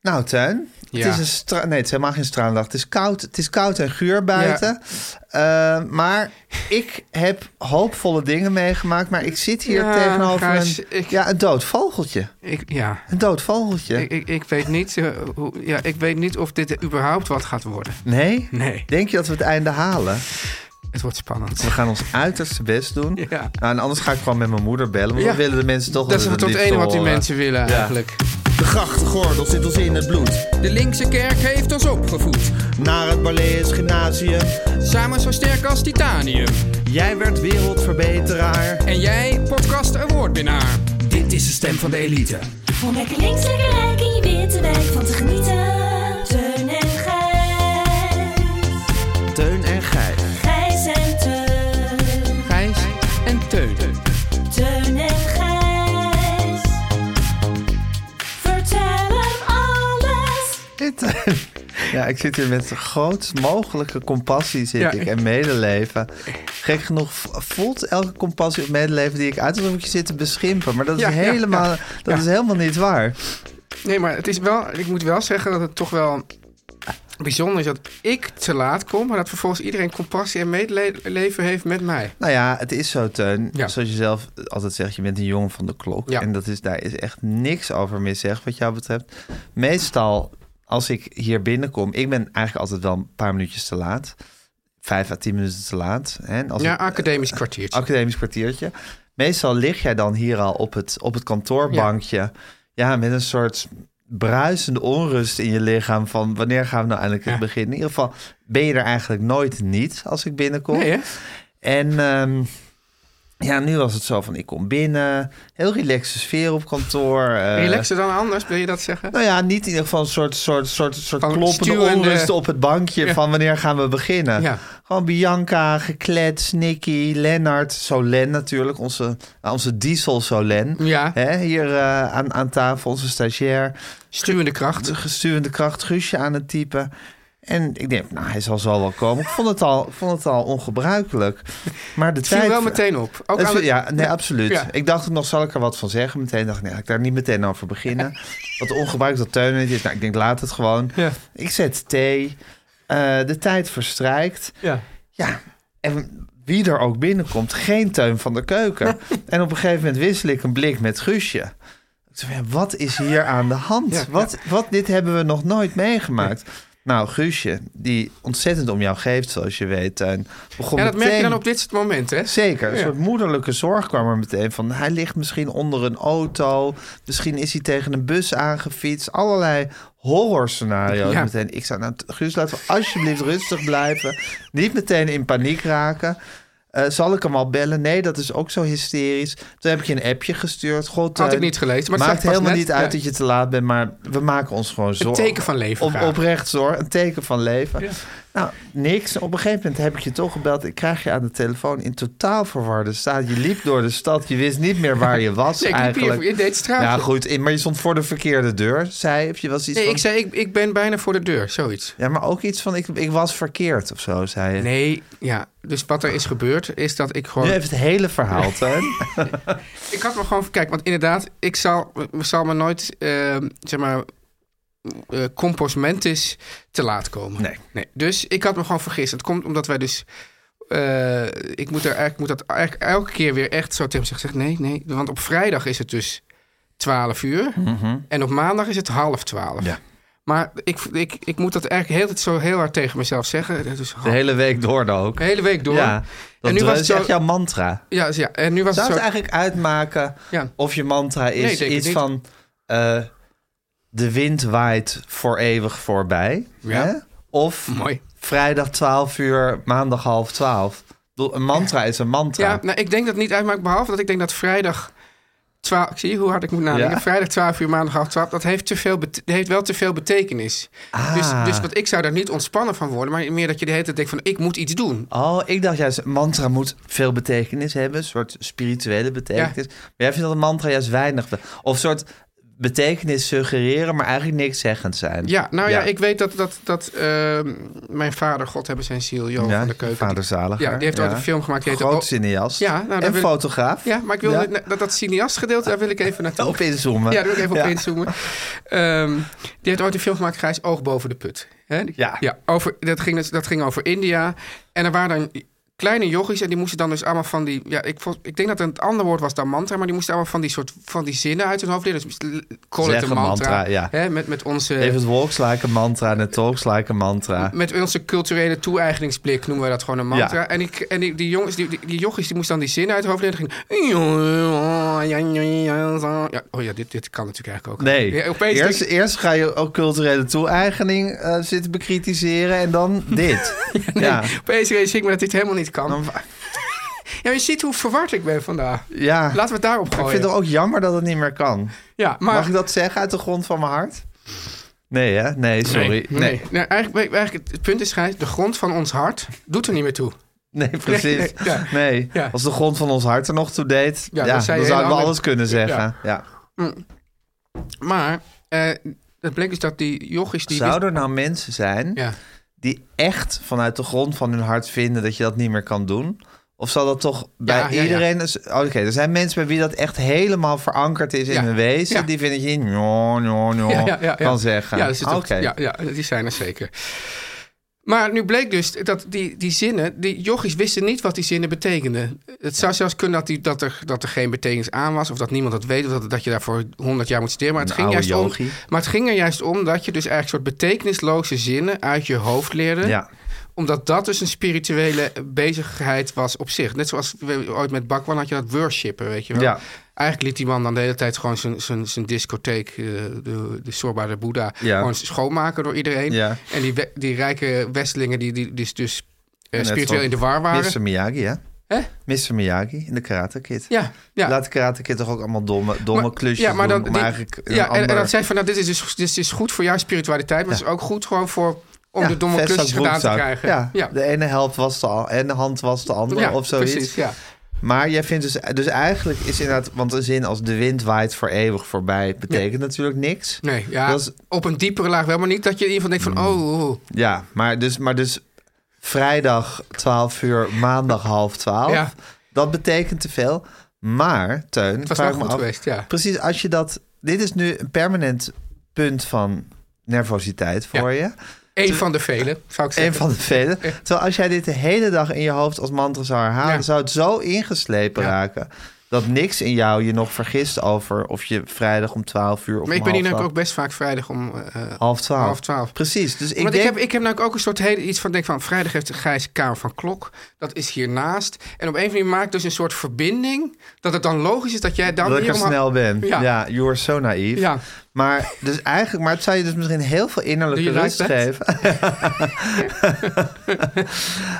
Nou, Tuin, Ja. het is een stra- nee, het is helemaal geen stralendag. Het is koud, het is koud en guur buiten. Eh, maar ik heb hoopvolle dingen meegemaakt. Maar ik zit hier Ja, tegenover Gijs, een, ik- ja, een dood vogeltje. Ik, ja. Een dood vogeltje. Ik, ik, ik, weet niet, eh, hoe, ja, ik weet niet of dit überhaupt wat gaat worden. nee? Nee. Denk je dat we het einde halen? Het wordt spannend. We gaan ons uiterste best doen. Ja. Nou, en anders ga ik gewoon met mijn moeder bellen. Want Ja. dan willen de mensen toch Dat is wel het tot liefst ene wat die horen. mensen willen eh, Ja. eigenlijk. De grachtgordel zit ons in het bloed. De linkse kerk heeft ons opgevoed. Naar het Barlees Gymnasium. Samen zo sterk als titanium. Jij werd wereldverbeteraar. En jij, podcast awardwinnaar. Dit is de stem van de elite. Om lekker links, lekker rijk in je witte wijk van te genieten. Teun en Gijs. Teun en Gijs. Gijs en Teun. Gijs en Teun. Teun en Gijs. Vertel hem alles. Dit. Ja, ik zit hier met de grootst mogelijke compassie zit Ja. ik, en medeleven. Gek genoeg v- voelt elke compassie of medeleven die ik uit alsof ik je zit te beschimpen. Maar dat is, Ja, ja, helemaal, ja. dat is helemaal niet waar. Nee, maar het is wel, ik moet wel zeggen dat het toch wel bijzonder is dat ik te laat kom, maar dat vervolgens iedereen compassie en medeleven heeft met mij. Nou ja, het is zo, Teun. Ja. Zoals je zelf altijd zegt, je bent een jongen van de klok. Ja. En dat is, daar is echt niks over meer zeg, wat jou betreft. Meestal, als ik hier binnenkom... Ik ben eigenlijk altijd wel een paar minuutjes te laat. Vijf à tien minuten te laat. Hè? En Als ja, ik- academisch kwartiertje. academisch kwartiertje. Meestal lig jij dan hier al op het, op het kantoorbankje. Ja. met een soort bruisende onrust in je lichaam van wanneer gaan we nou eindelijk Ja. beginnen. In ieder geval ben je er eigenlijk nooit niet als ik binnenkom. nee, hè? En ehm, ja, nu was het zo van ik kom binnen, heel relaxe sfeer op kantoor. eh, Relaxer dan anders, wil je dat zeggen? nou ja, niet in ieder geval een soort, soort, soort, soort Van kloppende stuwende- onrust op het bankje Ja. van wanneer gaan we beginnen. Ja. Gewoon Bianca, geklets, Nicky, Lennart, Solen natuurlijk, onze, nou, onze diesel Solen. Ja. Hè, hier eh, aan, aan tafel, onze stagiair, Stuwende kracht. de gesturende kracht, Guusje aan het typen. En ik denk, nou, hij zal zo wel komen. Ik vond het al, ik vond het al ongebruikelijk. Maar de Het viel tijd... wel meteen op. Ook Het aan viel- de- ja, nee, absoluut. Ja. Ik dacht nog, zal ik er wat van zeggen? Meteen dacht ik, nee, laat ik daar niet meteen over beginnen. Wat ongebruikelijk dat Teun er niet is. Nou, ik denk, laat het gewoon. Ja. Ik zet thee. Eh, de tijd verstrijkt. Ja. Ja, en wie er ook binnenkomt, geen Teun van de keuken. en op een gegeven moment wissel ik een blik met Guusje. Ik zei, ja, wat is hier aan de hand? Ja, wat, wat, dit hebben we nog nooit meegemaakt. Nou, Guusje, die ontzettend om jou geeft, zoals je weet, Teun. Begon Ja, dat merk je meteen- dan op dit soort momenten, hè? Zeker, een Ja. soort moederlijke zorg kwam er meteen van. Hij ligt misschien onder een auto, misschien is hij tegen een bus aangefietst. Allerlei horrorscenario's Ja. meteen. Ik zou, nou, Guus, laten we alsjeblieft rustig blijven. Niet meteen in paniek raken. Eh, zal ik hem al bellen? Nee, dat is ook zo hysterisch. Toen heb ik je een appje gestuurd. God, Had ik eh, niet gelezen, maar het maakt zag pas helemaal net. niet uit Ja. dat je te laat bent, maar we maken ons gewoon zorgen. teken van leven Op, graag. oprecht zorg, een teken van leven. Ja. Nou, niks. Op een gegeven moment heb ik je toch gebeld. Ik krijg je aan de telefoon in totaal verwarde staat. Je liep door de stad. Je wist niet meer waar je was Nee, ik liep eigenlijk. hier in dit straatje. Ja, goed. in- Maar je stond voor de verkeerde deur, zei Of je was iets Nee, van... ik zei, ik, ik ben bijna voor de deur, zoiets. Ja, maar ook iets van, ik, ik was verkeerd of zo, zei je. Nee, ja. Dus wat er is gebeurd, is dat ik gewoon... Nu even het hele verhaal, Teun. Ik had me gewoon... Kijk, want inderdaad, ik zal, zal me nooit, eh, zeg maar... eh composmentis te laat komen. Nee. Dus ik had me gewoon vergist. Het komt omdat wij dus... eh, ik moet, er, eigenlijk moet dat eigenlijk elke keer weer echt zo tegen zeggen. Nee, nee. Want op vrijdag is het dus 12 uur. En op maandag is het half 12. Mhm. Ja. Maar ik, ik, ik moet dat eigenlijk heel, zo heel hard tegen mezelf zeggen. Dat is De hele week door dan ook. de hele week door. Ja, dat En nu was is het echt zo- jouw mantra. Ja, dus ja, en nu was Zou het het zo... eigenlijk uitmaken Ja. of je mantra Nee, is ik denk het iets niet. van... eh, de wind waait voor eeuwig voorbij. Ja. Hè? Of Mooi. vrijdag 12 uur, maandag half 12. Ik bedoel, Een mantra is een mantra. Ja, nou, ik denk dat het niet uitmaakt, behalve dat ik denk dat vrijdag... 12, ik zie je hoe hard ik moet nadenken. Ja. Vrijdag 12 uur, maandag half 12. Dat heeft, te veel bete- heeft wel te veel betekenis. Ah. Dus, dus wat ik zou daar niet ontspannen van worden. Maar meer dat je de hele tijd denkt van ik moet iets doen. Oh, ik dacht juist, een mantra moet veel betekenis hebben. Een soort spirituele betekenis. Maar jij vindt dat een mantra juist weinig... be- Of een soort betekenis suggereren, maar eigenlijk niks zeggend zijn. Ja, nou ja, ik weet dat, dat, dat ehm, mijn vader, God hebben zijn ziel, Johan Ja, van de je Keuken. vader die- zaliger. Ja, die heeft Ja. ook een film gemaakt. Die heette Groot O- cineast Ja, nou, daar en wil ik- fotograaf. Ja, maar ik wil Ja. net- dat, dat cineast gedeelte, daar wil ik even naartoe. Op inzoomen. Ja, daar wil ik even Ja. op inzoomen. Ehm, die heeft ooit een film gemaakt, Grijs Oog boven de put. Hè? Die- Ja. ja over, dat, ging, dus- dat ging over India. En er waren dan kleine yogis en die moesten dan dus allemaal van die... Ja, ik, vond- ik denk dat het een ander woord was dan mantra... maar die moesten allemaal van die soort van die zinnen uit hun hoofd leren. Dus call Zeg it een een mantra. mantra, ja. hè? Met, met onze... Even het walks like a mantra en het talks like a mantra. Met onze culturele toe-eigeningsblik noemen we dat gewoon een mantra. Ja. En, ik, en die, die jongens, die, die, die jochies, die moesten dan die zin uit het hoofd leren. Ging... Ja, oh ja, dit, dit kan natuurlijk eigenlijk ook. Nee, Ja, opeens eerst, denk ik- eerst ga je ook culturele toe-eigening eh, zitten bekritiseren en dan dit. ja, opeens realiseer ik me dat dit helemaal niet kan. Dan- Ja, je ziet hoe verward ik ben vandaag. ja. Laten we het daarop ik gooien. vind het ook jammer dat het niet meer kan. Ja, maar... Mag ik dat zeggen uit de grond van mijn hart? Nee, hè? Nee, sorry. Nee, nee. nee, eigenlijk, eigenlijk het punt is, Gijs, de grond van ons hart doet er niet meer toe. Nee, precies. Nee, Nee, ja. Ja. als de grond van ons hart er nog toe deed, ja, Ja, dan dan, zei je hele zouden we andere- alles kunnen zeggen. Ja. Ja. Maar eh, het bleek dus dat die jochies... Die Zouden er nou mensen zijn Ja. die echt vanuit de grond van hun hart vinden dat je dat niet meer kan doen? Of zal dat toch bij ja, ja. iedereen... is- Oh, Oké, er zijn mensen bij wie dat echt helemaal verankerd is Ja, in hun wezen. ja. Die vinden dat je niet njo, njo, njo kan zeggen. Ja, dat is het ook. Oké. ja, ja, die zijn er zeker. Maar nu bleek dus dat die, die zinnen, die jochies wisten niet wat die zinnen betekenden. Het zou zelfs kunnen dat, die, dat, er, dat er geen betekenis aan was, of dat niemand dat weet, of dat, dat je daarvoor 100 jaar moet studeren. Maar het, Een ging oude juist om, yogi. maar het ging er juist om dat je dus eigenlijk soort betekenisloze zinnen uit je hoofd leerde. Ja. Omdat dat dus een spirituele bezigheid was op zich. Net zoals we, ooit met Bakwan had je dat worshippen, weet je wel. Ja. Eigenlijk liet die man dan de hele tijd gewoon zijn, zijn, zijn discotheek, eh, de, de Sorba de Boeddha, Ja. gewoon schoonmaken door iedereen. Ja. En die, we- die rijke westelingen die, die, die dus eh, Net spiritueel zoals in de war waren. Mr. Miyagi, hè? Hè? Mr. Miyagi in de Karate Kid. Ja, ja. Laat de Karate Kid toch ook allemaal domme, domme Maar- klusjes doen om die- eigenlijk een ja, en- en, ander- dat zei van, nou, dit is, dus, dit is goed voor jouw spiritualiteit, maar het is ook goed gewoon voor om Ja, de domme vestzak, klusjes gedaan te broekzak. krijgen. Ja, ja. De ene helft was de, al- en de hand was de andere Ja, of zoiets. precies, ja. Maar jij vindt dus, dus eigenlijk is inderdaad, want een zin als de wind waait voor eeuwig voorbij betekent natuurlijk niks. Nee, ja, Dat is- Hmm. op een diepere laag wel, maar niet dat je in ieder geval denkt van, oh, oh, oh. Ja, maar dus, maar dus vrijdag 12 uur, maandag half 12. Ja. Dat betekent te veel. Maar, Teun, het was vraag wel ik me goed af, geweest, ja. Precies, als je dat. Dit is nu een permanent punt van nervositeit voor je. Eén van de vele, zou ik zeggen. Een van de vele. Terwijl als jij dit de hele dag in je hoofd als mantra zou herhalen, Ja. zou het zo ingeslepen Ja. raken. Dat niks in jou je nog vergist over of je vrijdag om 12 uur of Maar ik om ben hier half namelijk ook best vaak vrijdag om eh, half 12. half twaalf. Precies. Dus ik Want denk. ik, heb, ik heb namelijk ook een soort hele, iets van, denk van, vrijdag heeft Gijs Kamer van Klok. Dat is hiernaast. En op een of andere manier maakt dus een soort verbinding. Dat het dan logisch is dat jij dan dat ik hier er om- snel ben. Ja. Ja. you are so naïef. Ja. Maar, dus eigenlijk, maar het zou je dus misschien heel veel innerlijke Doe je rust like geven.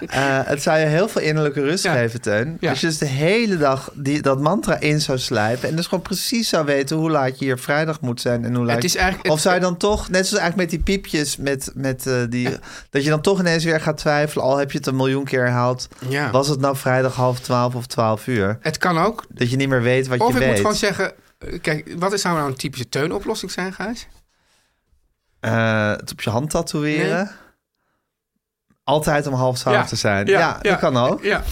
Eh, het zou je heel veel innerlijke rust Ja. geven, Teun. Ja. Als je dus de hele dag die, dat mantra in zou slijpen... en dus gewoon precies zou weten hoe laat je hier vrijdag moet zijn... en hoe laat Het is eigenlijk- Of het- zou je dan toch, net zoals eigenlijk met die piepjes... Met, met, eh, die, dat je dan toch ineens weer gaat twijfelen... al heb je het een miljoen keer herhaald... Ja. was het nou vrijdag half twaalf of twaalf uur... Het kan ook. Dat je niet meer weet wat Of je ik weet. moet gewoon zeggen... eh, Kijk, wat is nou nou een typische teunoplossing zijn, Gijs? Eh, het op je hand tatoeëren. Altijd om half twaalf te zijn. Ja, dat kan ook. Ja,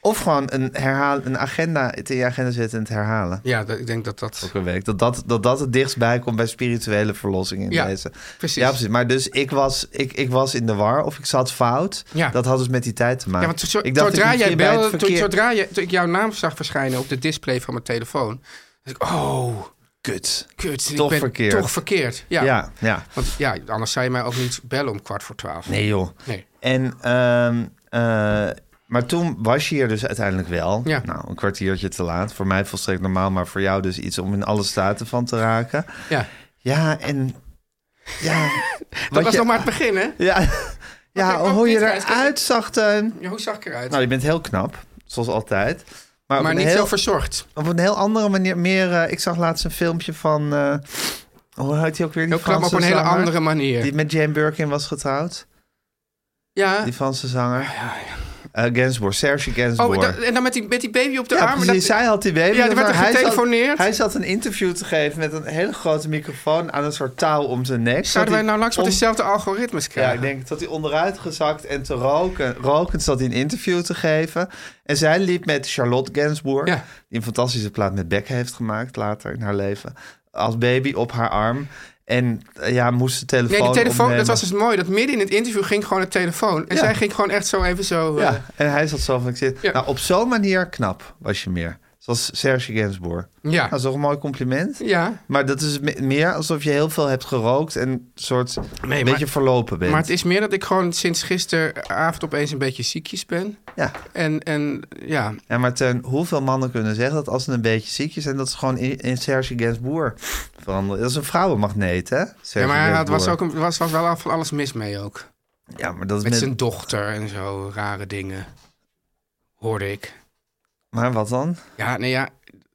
Of gewoon een, herhaal, een agenda, het in je agenda zetten en het herhalen. ja dat, ik denk dat dat... Elke week. Dat dat, dat dat het dichtstbij komt bij spirituele verlossing in Ja, deze. precies. Ja, precies. Maar dus ik was, ik, ik was in de war of ik zat fout. Ja. Dat had dus met die tijd te maken. Ja, want zo- ik dacht zodra dat ik jij een keer bij belde, het verkeer- toen- zodra je, toen ik jouw naam zag verschijnen op de display van mijn telefoon, dacht ik, oh, Kut. kut, Toch ik ben verkeerd. toch verkeerd. Ja. Ja. ja, Want ja, anders zou je mij ook niet bellen om kwart voor twaalf. Nee joh. Nee. En, ehm, eh, maar toen was je hier dus uiteindelijk wel. Ja. Nou, een kwartiertje te laat. Voor mij volstrekt normaal, maar voor jou dus iets om in alle staten van te raken. Ja. Ja, en... Ja, Dat was nog maar het begin, hè? Ja, Oké, ja oh, hoe je dit reis, dit- eruit zag, Teun. Ja, hoe zag ik eruit? Nou, je bent heel knap, zoals altijd. Maar, maar op, niet een heel, zo verzorgd. op een heel andere manier. Meer, eh, ik zag laatst een filmpje van... eh, hoe heet hij ook weer? Die Heel knap op Franse een hele zanger andere manier. Die met Jane Birkin was getrouwd. ja. Die Franse zanger. Eh, Gainsbourg, Serge Gainsbourg. Ah, oh, dat- en dan met die, met die baby op de ja, arm. precies. dat- Zij had die baby. Ja, er werd Maar er hij zat- getelefoneerd. Hij zat een interview te geven met een hele grote microfoon aan een soort touw om zijn nek. zouden wij Zat hij nou langs met om- dezelfde algoritmes Ja, krijgen? ik denk dat hij onderuit gezakt en te roken. Rokend zat hij een interview te geven. En zij liep met Charlotte Gainsbourg, Ja. die een fantastische plaat met Beck heeft gemaakt later in haar leven. Als baby op haar arm. En eh, ja, moest de telefoon Nee, de telefoon, opnemen. dat was dus mooi. Dat midden in het interview ging gewoon het telefoon. En Ja. zij ging gewoon echt zo even zo... eh, Ja, en hij zat zo van, ik zit... Ja. Nou, op zo'n manier knap was je meer. Zoals Serge Gainsbourg. Nou, ja. Dat is toch een mooi compliment? ja. Maar dat is me- meer alsof je heel veel hebt gerookt en een soort Nee, een maar- beetje verlopen bent. Maar het is meer dat ik gewoon sinds gisteravond opeens een beetje ziekjes ben. Ja. En, en ja, Ja, maar Teun, hoeveel mannen kunnen zeggen dat als ze een beetje ziekjes zijn, dat ze gewoon in, in Serge Gainsbourg veranderen? Dat is een vrouwenmagneet, hè? Serge ja maar er Gainsbourg. was, ook een, was, was wel al van alles mis mee ook. Ja, maar dat is Met met... zijn dochter en zo, rare dingen. Hoorde ik. Maar wat dan? Ja, nee ja,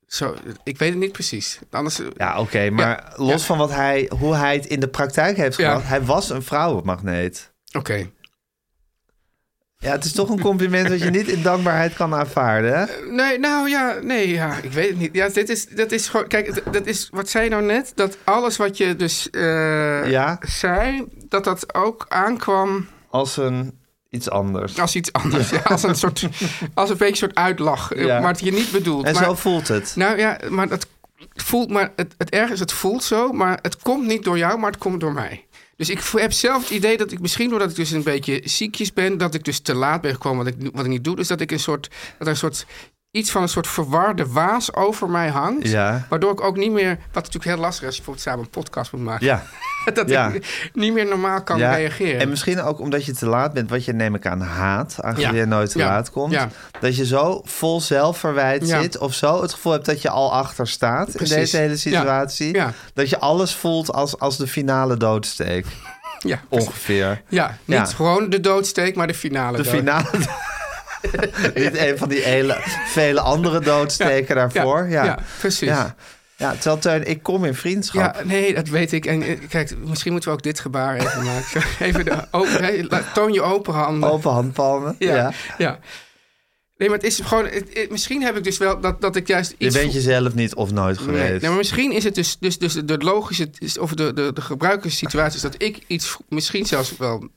zo, ik weet het niet precies. Anders, eh, Ja, oké, maar Ja, los ja. van wat hij, hoe hij het in de praktijk heeft Ja. gebracht, hij was een vrouwenmagneet. oké. Ja, het is toch een compliment dat je niet in dankbaarheid kan aanvaarden, hè? Nee, nou ja, nee, ja, ik weet het niet. Ja, dit is, dat is gewoon, kijk, d- dat is, wat zei je nou net? Dat alles wat je dus eh, Ja. zei, dat dat ook aankwam Als een iets anders. als iets anders. Ja, als een soort, als een beetje een soort uitlach, eh, Ja. maar het je niet bedoelt. en maar, zo voelt het. Nou ja, maar het voelt, maar het, het erg is, het voelt zo, maar het komt niet door jou, maar het komt door mij. Dus ik vo- heb zelf het idee dat ik misschien doordat ik dus een beetje ziekjes ben, dat ik dus te laat ben gekomen wat ik, nu- wat ik niet doe. Dus dat ik een soort, dat er een soort, iets van een soort verwarde waas over mij hangt. Ja. Waardoor ik ook niet meer, wat natuurlijk heel lastig is als je bijvoorbeeld samen een podcast moet maken. Ja. dat ja. ik niet meer normaal kan Ja, reageren. En misschien ook omdat je te laat bent, wat je neem ik aan haat, aangezien Ja. je nooit te Ja. laat komt. Ja. Dat je zo vol zelfverwijt Ja. zit of zo het gevoel hebt dat je al achter staat Precies. in deze hele Ja. situatie. Ja. Dat je alles voelt als, als de finale doodsteek, ja, ongeveer. ja, niet Ja. gewoon de doodsteek, maar de finale De dood. finale... Niet een van die hele, vele andere doodsteken daarvoor. Ja, ja, precies. Ja. Ja, terwijl Teun, ik kom in vriendschap. Ja, nee, dat weet ik. En eh, kijk, misschien moeten we ook dit gebaar even maken. Even de open, nee, la- toon je open handen. Open handpalmen. Ja. ja, ja. Nee, maar het is gewoon... het- het- misschien heb ik dus wel dat, dat ik juist Je iets... bent jezelf niet of nooit voel- nee, geweest. nee, maar misschien is het dus, dus, dus de logische... of de, de, de gebruikerssituatie is dat ik iets... vro- misschien zelfs wel...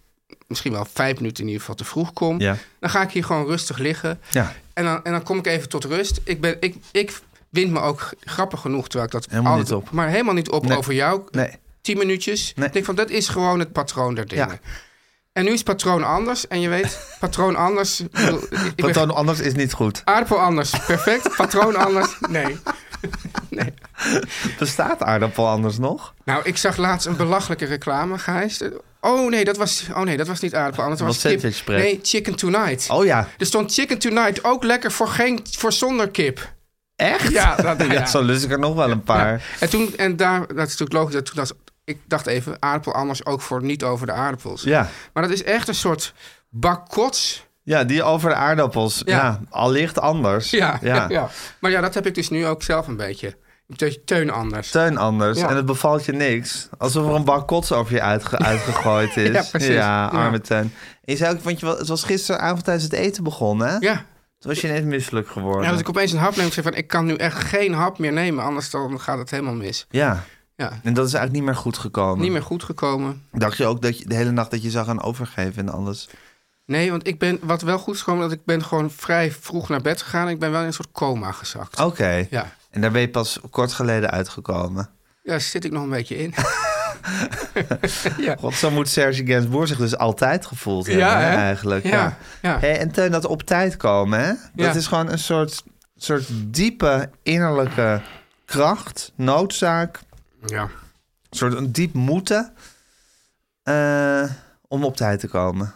Misschien wel vijf minuten in ieder geval te vroeg kom. Ja. Dan ga ik hier gewoon rustig liggen. Ja. En dan, en dan kom ik even tot rust. Ik, ben, ik, ik wind me ook g- grappig genoeg, terwijl ik dat Helemaal altijd- niet op. Maar helemaal niet op Nee. over jou. Nee. Tien minuutjes. Nee. Ik denk van, dat is gewoon het patroon der dingen. Ja. En nu is patroon anders. En je weet, patroon anders... ik bedoel, ik- ik ben- Patroon anders is niet goed. Aardappel anders, perfect. Patroon anders, nee. nee. Bestaat aardappel anders nog? Nou, ik zag laatst een belachelijke reclame, Gijs. Oh nee, dat was, oh nee, dat was niet aardappel anders. Dat Dat was was kip. sandwichbread. Nee, chicken tonight. Oh ja, Er stond chicken tonight ook lekker voor, geen, voor zonder kip. Echt? Ja, dat- ja. zo lus ik er nog wel een paar. En toen, en daar, dat is natuurlijk logisch. Dat toen dat, ik dacht even, aardappel anders ook voor niet over de aardappels. Ja. Maar dat is echt een soort bakkots. Ja, die over de aardappels. Ja, Ja. allicht anders. Ja, ja. Maar ja, dat heb ik dus nu ook zelf een beetje. Te- Teun anders. Teun anders. Ja. En het bevalt je niks. Alsof er een bak kots over je uitge- uitgegooid is. Ja, precies. Ja, arme Ja. Teun. En je zei ook, want je, wa- het was gisteravond tijdens het eten begonnen, hè? ja. Toen was je net misselijk geworden. Ja, als ik opeens een hap neem, ik zeg van, ik kan nu echt geen hap meer nemen, anders dan gaat het helemaal mis. Ja. Ja, En dat is eigenlijk niet meer goed gekomen. niet meer goed gekomen. Dacht je ook dat je de hele nacht dat je zou gaan overgeven en alles? Nee, want ik ben, wat wel goed is gekomen, dat ik ben gewoon vrij vroeg naar bed gegaan. Ik ben wel in een soort coma gezakt. Oké. Ja. En daar ben je pas kort geleden uitgekomen. ja, daar zit ik nog een beetje in. ja. God, zo moet Serge Gainsbourg zich dus altijd gevoeld Ja, hebben, hè, hè? eigenlijk. Ja. Ja, ja. Hé, en Teun, dat op tijd komen, hè? Dat Ja. is gewoon een soort, soort diepe innerlijke kracht, noodzaak, ja. een soort een diep moeten eh, om op tijd te komen.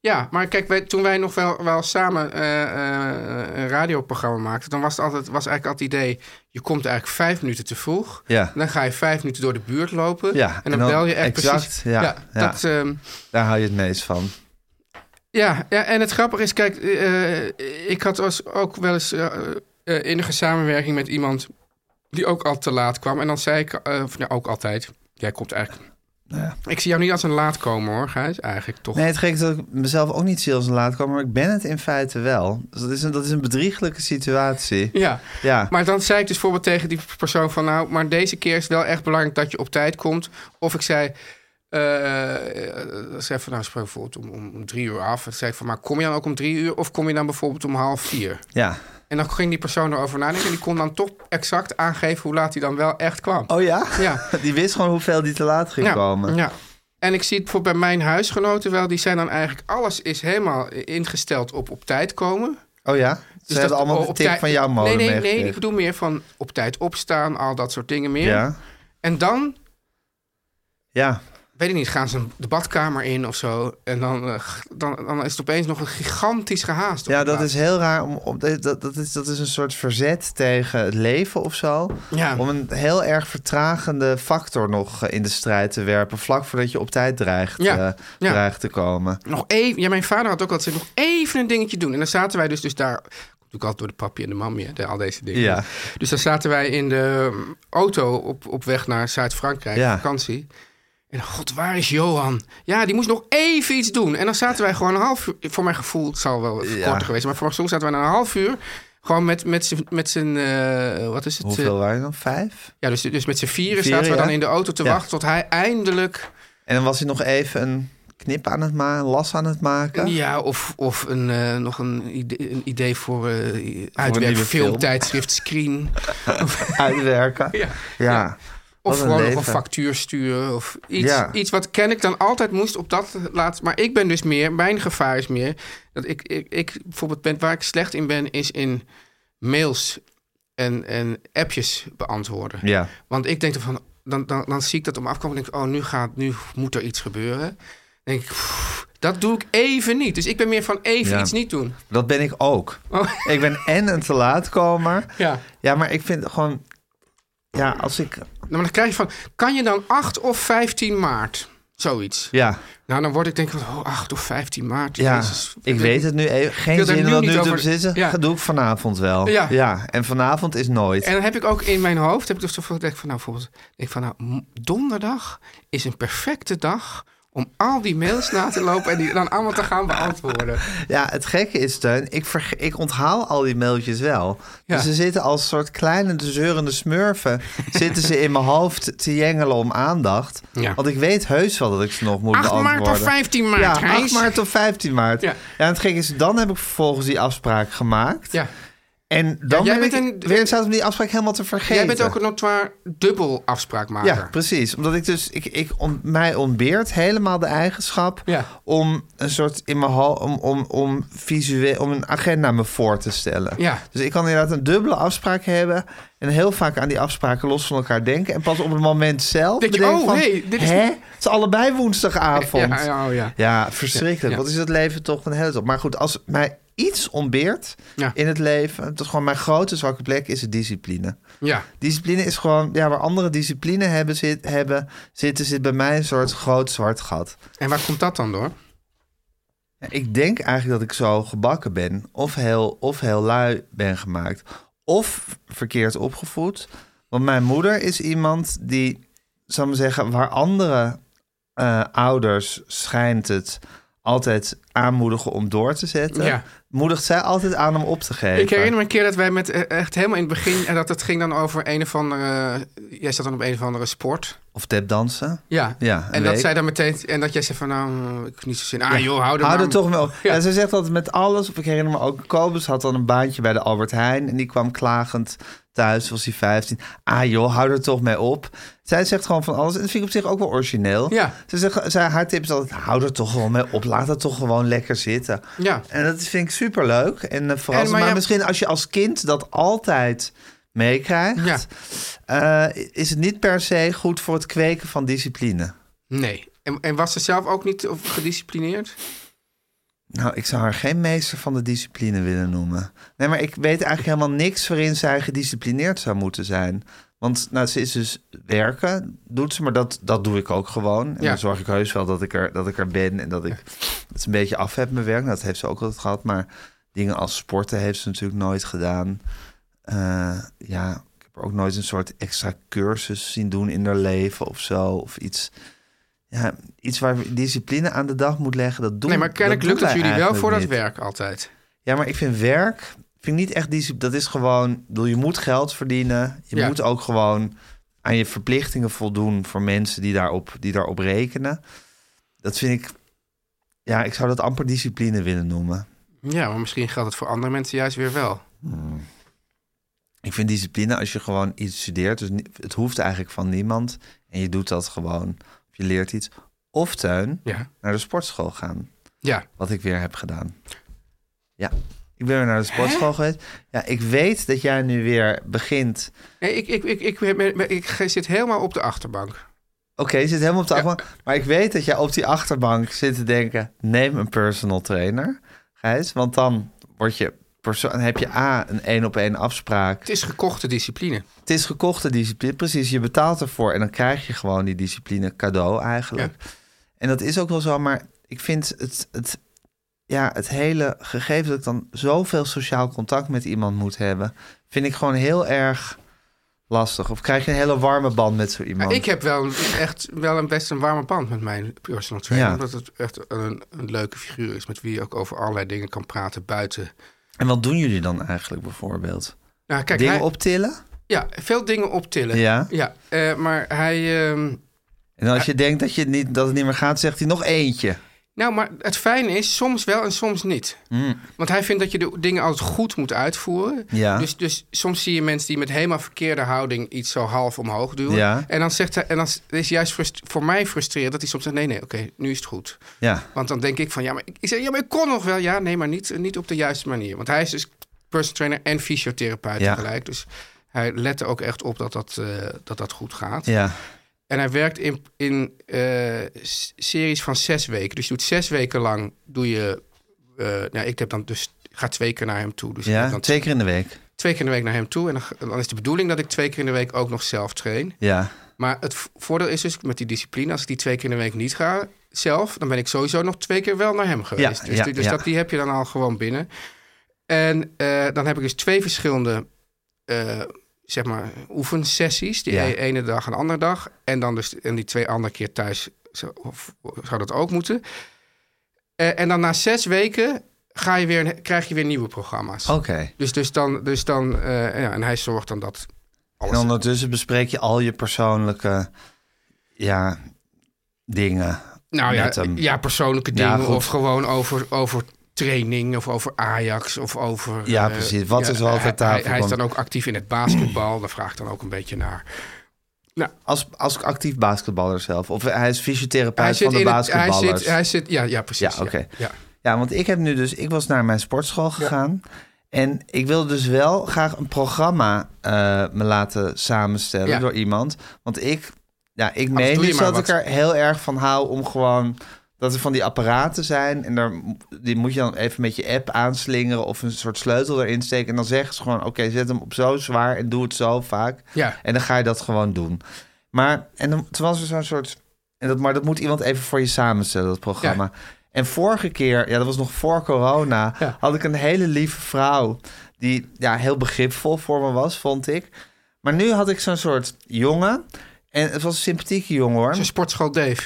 Ja, maar kijk, wij, toen wij nog wel, wel samen eh, eh, een radioprogramma maakten, dan was, het altijd, was eigenlijk altijd het idee, je komt eigenlijk vijf minuten te vroeg. Ja. Dan ga je vijf minuten door de buurt lopen. Ja, en, dan en dan- bel je echt exact, precies. ja, ja. Dat, ehm, Daar hou je het meest van. ja, ja, en het grappige is, kijk, eh, ik had als- ook wel eens eh, eh, innige samenwerking met iemand die ook al te laat kwam. En dan zei ik, eh, of nou, ook altijd, jij komt eigenlijk... Ja. Ik zie jou niet als een laat komen hoor, Gijs, eigenlijk toch. Nee, het gek is dat ik mezelf ook niet zie als een laatkomer, maar ik ben het in feite wel. Dus dat is een, dat is een bedrieglijke situatie. Ja, Ja. Maar dan zei ik dus bijvoorbeeld tegen die persoon van... nou, maar deze keer is het wel echt belangrijk dat je op tijd komt. Of ik zei... eh zei van, nou, spreek bijvoorbeeld om, om drie uur af. En zei ik van, maar kom je dan ook om drie uur... of kom je dan bijvoorbeeld om half vier? ja. En dan ging die persoon erover nadenken... en die kon dan toch exact aangeven hoe laat hij dan wel echt kwam. Oh ja? Ja. Die wist gewoon hoeveel die te laat ging komen. Ja. En ik zie het voor bij mijn huisgenoten wel. Die zijn dan eigenlijk... alles is helemaal ingesteld op op tijd komen... Oh ja? Ze Dus hebben dat- allemaal oh, de op tip tijd- van jouw molen Nee, nee, nee. meegekregen. Ik bedoel meer van op tijd opstaan, al dat soort dingen meer. Ja. En dan, Ja. weet ik niet, gaan ze de badkamer in of zo. En dan, eh, g- dan, dan is het opeens nog een gigantisch gehaast. op Ja, de dat plaats. is heel raar. Om, om, dat, dat, is, dat is een soort verzet tegen het leven of zo. Ja. Om een heel erg vertragende factor nog eh, in de strijd te werpen. Vlak voordat je op tijd dreigt, Ja, eh, ja. dreigt te komen. Nog even, ja, mijn vader had ook altijd gezegd, nog even een dingetje doen. En dan zaten wij dus, dus daar... Komt ook altijd door de papi en de mammy, hè, de- al deze dingen. Ja. Dus dan zaten wij in de mm, auto op, op weg naar Zuid-Frankrijk, Ja. vakantie. En god, waar is Johan? Ja, die moest nog even iets doen. En dan zaten wij gewoon een half uur... Voor mijn gevoel, het zal wel Ja. korter geweest... maar voor mijn gevoel zaten wij na een half uur... gewoon met, met z'n... Met z'n eh, wat is het? eh, Hoeveel waren er dan? Vijf? Ja, dus, dus met z'n vieren Vieren, zaten we ja. dan in de auto te Ja. wachten... tot hij eindelijk... En dan was hij nog even een knip aan het maken, een las aan het maken. Ja, of, of een, eh, nog een idee, een idee voor eh uitwerk, nieuwe film. filmtijdschrift, screen. Uitwerken. Ja. Ja. Of Wat een gewoon nog een leven. factuur sturen. Of iets, Ja. iets wat ken ik dan altijd moest op dat laatst. Maar ik ben dus meer, mijn gevaar is meer. Dat ik, ik, ik bijvoorbeeld ben, waar ik slecht in ben, is in mails en, en appjes beantwoorden. Ja. Want ik denk van, dan, dan, dan zie ik dat om afkomen en denk ik, oh, nu, gaat, nu moet er iets gebeuren. Dan denk ik, pff, dat doe ik even niet. Dus ik ben meer van even Ja. iets niet doen. Dat ben ik ook. Oh. Ik ben en een te laatkomer. Ja. Ja, maar ik vind gewoon... Ja, als ik... Nou, Maar dan krijg je van, kan je dan 8 of 15 maart? Zoiets. Ja, Nou, dan word ik denk ik van, oh, 8 of 15 maart. ja Jezus. ik weet het nu even. Geen wil daar zin om nu dat nu niet te over- beslissen. Ja. Dat doe ik vanavond wel. Ja. en vanavond is nooit. En dan heb ik ook in mijn hoofd, heb ik dus toch denk ik van, nou, bijvoorbeeld, denk ik van, nou, m- donderdag is een perfecte dag om al die mails na te lopen en die dan allemaal te gaan beantwoorden. Ja, het gekke is, Teun, ik, verge- ik onthaal al die mailtjes wel. Ja. Dus ze zitten als soort kleine, zeurende smurfen... zitten ze in mijn hoofd te jengelen om aandacht. Ja. Want ik weet heus wel dat ik ze nog moet 8 beantwoorden. maart of 15 maart, Ja, Gijs. 8 maart of 15 maart. Ja. Ja. en het gekke is, dan heb ik vervolgens die afspraak gemaakt. Ja. En dan Ja, jij ben ik bent een- weer in staat om die afspraak helemaal te vergeten. Jij bent ook een notoire dubbel afspraakmaker. Ja, precies. Omdat ik dus, ik, ik ont- mij ontbeert helemaal de eigenschap Ja. om een soort in mijn hal, om, om, om visueel, om een agenda me voor te stellen. Ja. Dus ik kan inderdaad een dubbele afspraak hebben en heel vaak aan die afspraken los van elkaar denken. En pas op het moment zelf Denk je, bedenken oh, van, nee, dit is hè? niet- Het is allebei woensdagavond. Ja, ja, oh, ja. Ja, verschrikkelijk. Ja. Wat is het leven toch een hele top. Maar goed, als mij iets ontbeert Ja. in het leven. Dat is gewoon mijn grote zwakke plek is de discipline. Ja. Discipline is gewoon, ja, waar andere discipline hebben, zit, hebben zitten, zit bij mij een soort groot zwart gat. En waar komt dat dan door? Ja, Ik denk eigenlijk dat ik zo gebakken ben. Of heel, of heel lui ben gemaakt. Of verkeerd opgevoed. Want mijn moeder is iemand die, zal ik maar zeggen, waar andere eh, ouders schijnt het altijd aanmoedigen om door te zetten. Ja. Moedigt zij altijd aan om op te geven. Ik herinner me een keer dat wij met eh, echt helemaal in het begin... en dat het ging dan over een of andere... Jij zat dan op een of andere sport. Of tapdansen. Ja. Ja, een en dat week. zij dan meteen... En dat jij zei van, nou, ik heb niet zo zin. Ah joh, hou er Hou maar- er toch wel. Ja. Ja. ze zegt altijd met alles. Of ik herinner me ook, Kobus had dan een baantje bij de Albert Heijn. En die kwam klagend thuis, was hij 15. Ah joh, hou er toch mee op. Zij zegt gewoon van alles. En dat vind ik op zich ook wel origineel. Ja. Ze zegt, zij, haar tip is altijd, hou er toch wel mee op. Laat het toch gewoon lekker zitten. Ja. En dat vind ik superleuk. En eh, verrassend. En, maar maar ja- misschien als je als kind dat altijd meekrijgt... eh, is het niet per se goed voor het kweken van discipline. Nee. En, en was ze zelf ook niet of gedisciplineerd? Nou, ik zou haar geen meester van de discipline willen noemen. Nee, maar ik weet eigenlijk helemaal niks waarin zij gedisciplineerd zou moeten zijn. Want nou, ze is dus werken, doet ze, maar dat, dat doe ik ook gewoon. En Ja. dan zorg ik heus wel dat ik er, dat ik er ben en dat ik het een beetje af heb mijn werk. Nou, dat heeft ze ook altijd gehad, maar dingen als sporten heeft ze natuurlijk nooit gedaan. Eh, ja, ik heb haar ook nooit een soort extra cursus zien doen in haar leven of zo. Of iets, ja, iets waar we discipline aan de dag moet leggen, dat doen nee, maar dat kennelijk doen lukt het wij jullie wel eigenlijk voor dat niet. werk altijd. Ja, maar ik vind werk vind ik niet echt discipline. Dat is gewoon, ik bedoel, je moet geld verdienen. Je Ja. moet ook gewoon aan je verplichtingen voldoen voor mensen die daarop, die daarop rekenen. Dat vind ik, ja, ik zou dat amper discipline willen noemen. Ja, maar misschien geldt het voor andere mensen juist weer wel. Ik vind discipline als je gewoon iets studeert, dus ni- het hoeft eigenlijk van niemand. En je doet dat gewoon, of je leert iets. Of tuin, Ja. naar de sportschool gaan. Ja. Wat ik weer heb gedaan. Ja, ik ben weer naar de sportschool geweest. Ja, ik weet dat jij nu weer begint. Nee, ik, ik, ik, ik, ik, ik zit helemaal op de achterbank. Oké, je zit helemaal op de Ja. achterbank. Maar ik weet dat jij op die achterbank zit te denken... neem een personal trainer, Gijs. Want dan word je perso- dan heb je A, een één-op-één afspraak. Het is gekochte discipline. Het is gekochte discipline, precies. Je betaalt ervoor en dan krijg je gewoon die discipline cadeau eigenlijk. En dat is ook wel zo, maar ik vind het, het, ja, het hele gegeven dat ik dan zoveel sociaal contact met iemand moet hebben, vind ik gewoon heel erg lastig. Of krijg je een hele warme band met zo Ja, iemand. ik heb wel een- echt wel een best een warme band met mijn personal trainer. Ja. Omdat het echt een, een leuke figuur is met wie je ook over allerlei dingen kan praten buiten. En wat doen jullie dan eigenlijk bijvoorbeeld? Nou, kijk, Dingen hij- optillen? Ja, veel dingen optillen. Ja. ja eh, maar hij... ehm, En als je denkt dat, je het niet, dat het niet meer gaat, zegt hij nog eentje. Nou, maar het fijne is soms wel en soms niet. Want hij vindt dat je de dingen altijd goed moet uitvoeren. Mm. Ja. Dus, dus soms zie je mensen die met helemaal verkeerde houding iets zo half omhoog duwen. Ja. En dan zegt hij, en dan is juist frust- voor mij frustrerend dat hij soms zegt: nee, nee, oké, nu is het goed. Ja. Want dan denk ik van ja, maar ik, ik zeg ja, maar ik kon nog wel. Ja, nee, maar niet, niet op de juiste manier. Want hij is dus personal trainer en fysiotherapeut Ja. tegelijk. Dus hij lette ook echt op dat dat, eh, dat, dat goed gaat. Ja. En hij werkt in, in eh, s- series van zes weken. Dus je doet zes weken lang, doe je... eh, nou, ik heb dan dus, ik ga twee keer naar hem toe. Dus ik heb ja. dan Twee keer in de week. twee keer in de week naar hem toe. En dan, ga- dan is de bedoeling dat ik twee keer in de week ook nog zelf train. Ja. Maar het v- voordeel is dus met die discipline... als ik die twee keer in de week niet ga zelf... dan ben ik sowieso nog twee keer wel naar hem geweest. dus ja, die- dus ja. Dat, die heb je dan al gewoon binnen. En eh, dan heb ik dus twee verschillende... eh, zeg maar, oefensessies. Die Ja. e- ene dag en de andere dag. En dan dus en die twee andere keer thuis zou, of, zou dat ook moeten. Eh, en dan na zes weken ga je weer, een- krijg je weer nieuwe programma's. Oké. Dus, dus dan, dus dan eh, ja, en hij zorgt dan dat En alles... ondertussen bespreek je al je persoonlijke ja, dingen. nou ja, met hem. ja, persoonlijke Ja, dingen goed. of gewoon over, over training of over Ajax of over... Ja, eh, precies. Wat is er wel ter hij- tafel Hij, hij is komt? dan ook actief in het basketbal. Daar vraag ik dan ook een beetje naar. Als, als actief basketballer zelf. Of hij is fysiotherapeut Hij van de in het- hij basketballers. zit, hij zit, ja, ja, precies. Ja, oké. ja. Ja, want ik heb nu dus, ik was naar mijn sportschool gegaan. En ik wilde dus wel graag een programma eh, me laten samenstellen Ja. door iemand. Want ik, ja, ik doe meen je dus maar dat ik wat. er heel erg van hou om gewoon dat er van die apparaten zijn en daar, mo- die moet je dan even met je app aanslingeren of een soort sleutel erin steken. En dan zeggen ze gewoon, oké, zet hem op zo zwaar en doe het zo vaak. Ja. En dan ga je dat gewoon doen. Maar, en dan, toen was er zo'n soort, en dat, maar dat moet iemand even voor je samenstellen, dat programma. En vorige keer, ja, dat was nog voor corona, Ja. had ik een hele lieve vrouw die ja, heel begripvol voor me was, vond ik. Maar nu had ik zo'n soort jongen. En het was een sympathieke jongen hoor. Zo'n sportschool Dave.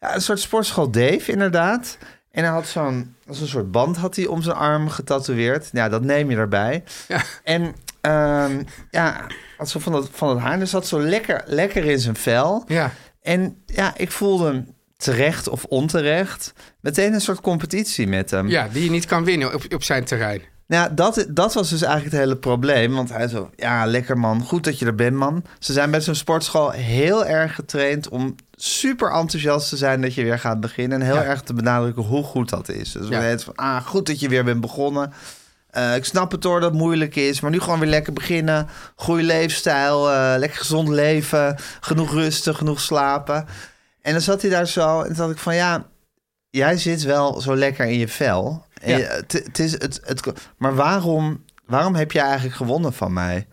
Ja, een soort sportschool Dave, inderdaad. En hij had zo'n als een soort band had hij om zijn arm getatoeëerd. Ja, dat neem je erbij. Ja. En ehm, ja, had zo van dat, van dat haar. Dus zat zo lekker, lekker in zijn vel. Ja. En ja, ik voelde hem terecht of onterecht. Meteen een soort competitie met hem. ja, die je niet kan winnen op, op zijn terrein. Nou, ja, dat, dat was dus eigenlijk het hele probleem. Want hij zo, ja, lekker man. Goed dat je er bent, man. Ze zijn bij zo'n sportschool heel erg getraind om super enthousiast te zijn dat je weer gaat beginnen. En heel Ja. erg te benadrukken hoe goed dat is. Dus Ja. het van, ah, goed dat je weer bent begonnen. Eh, ik snap het hoor dat het moeilijk is, maar nu gewoon weer lekker beginnen. Goede leefstijl, eh, lekker gezond leven, genoeg rusten, genoeg slapen. En dan zat hij daar zo en toen dacht ik van ja, jij zit wel zo lekker in je vel. En Ja. je- het- het is het, het, maar waarom, waarom heb jij eigenlijk gewonnen van mij?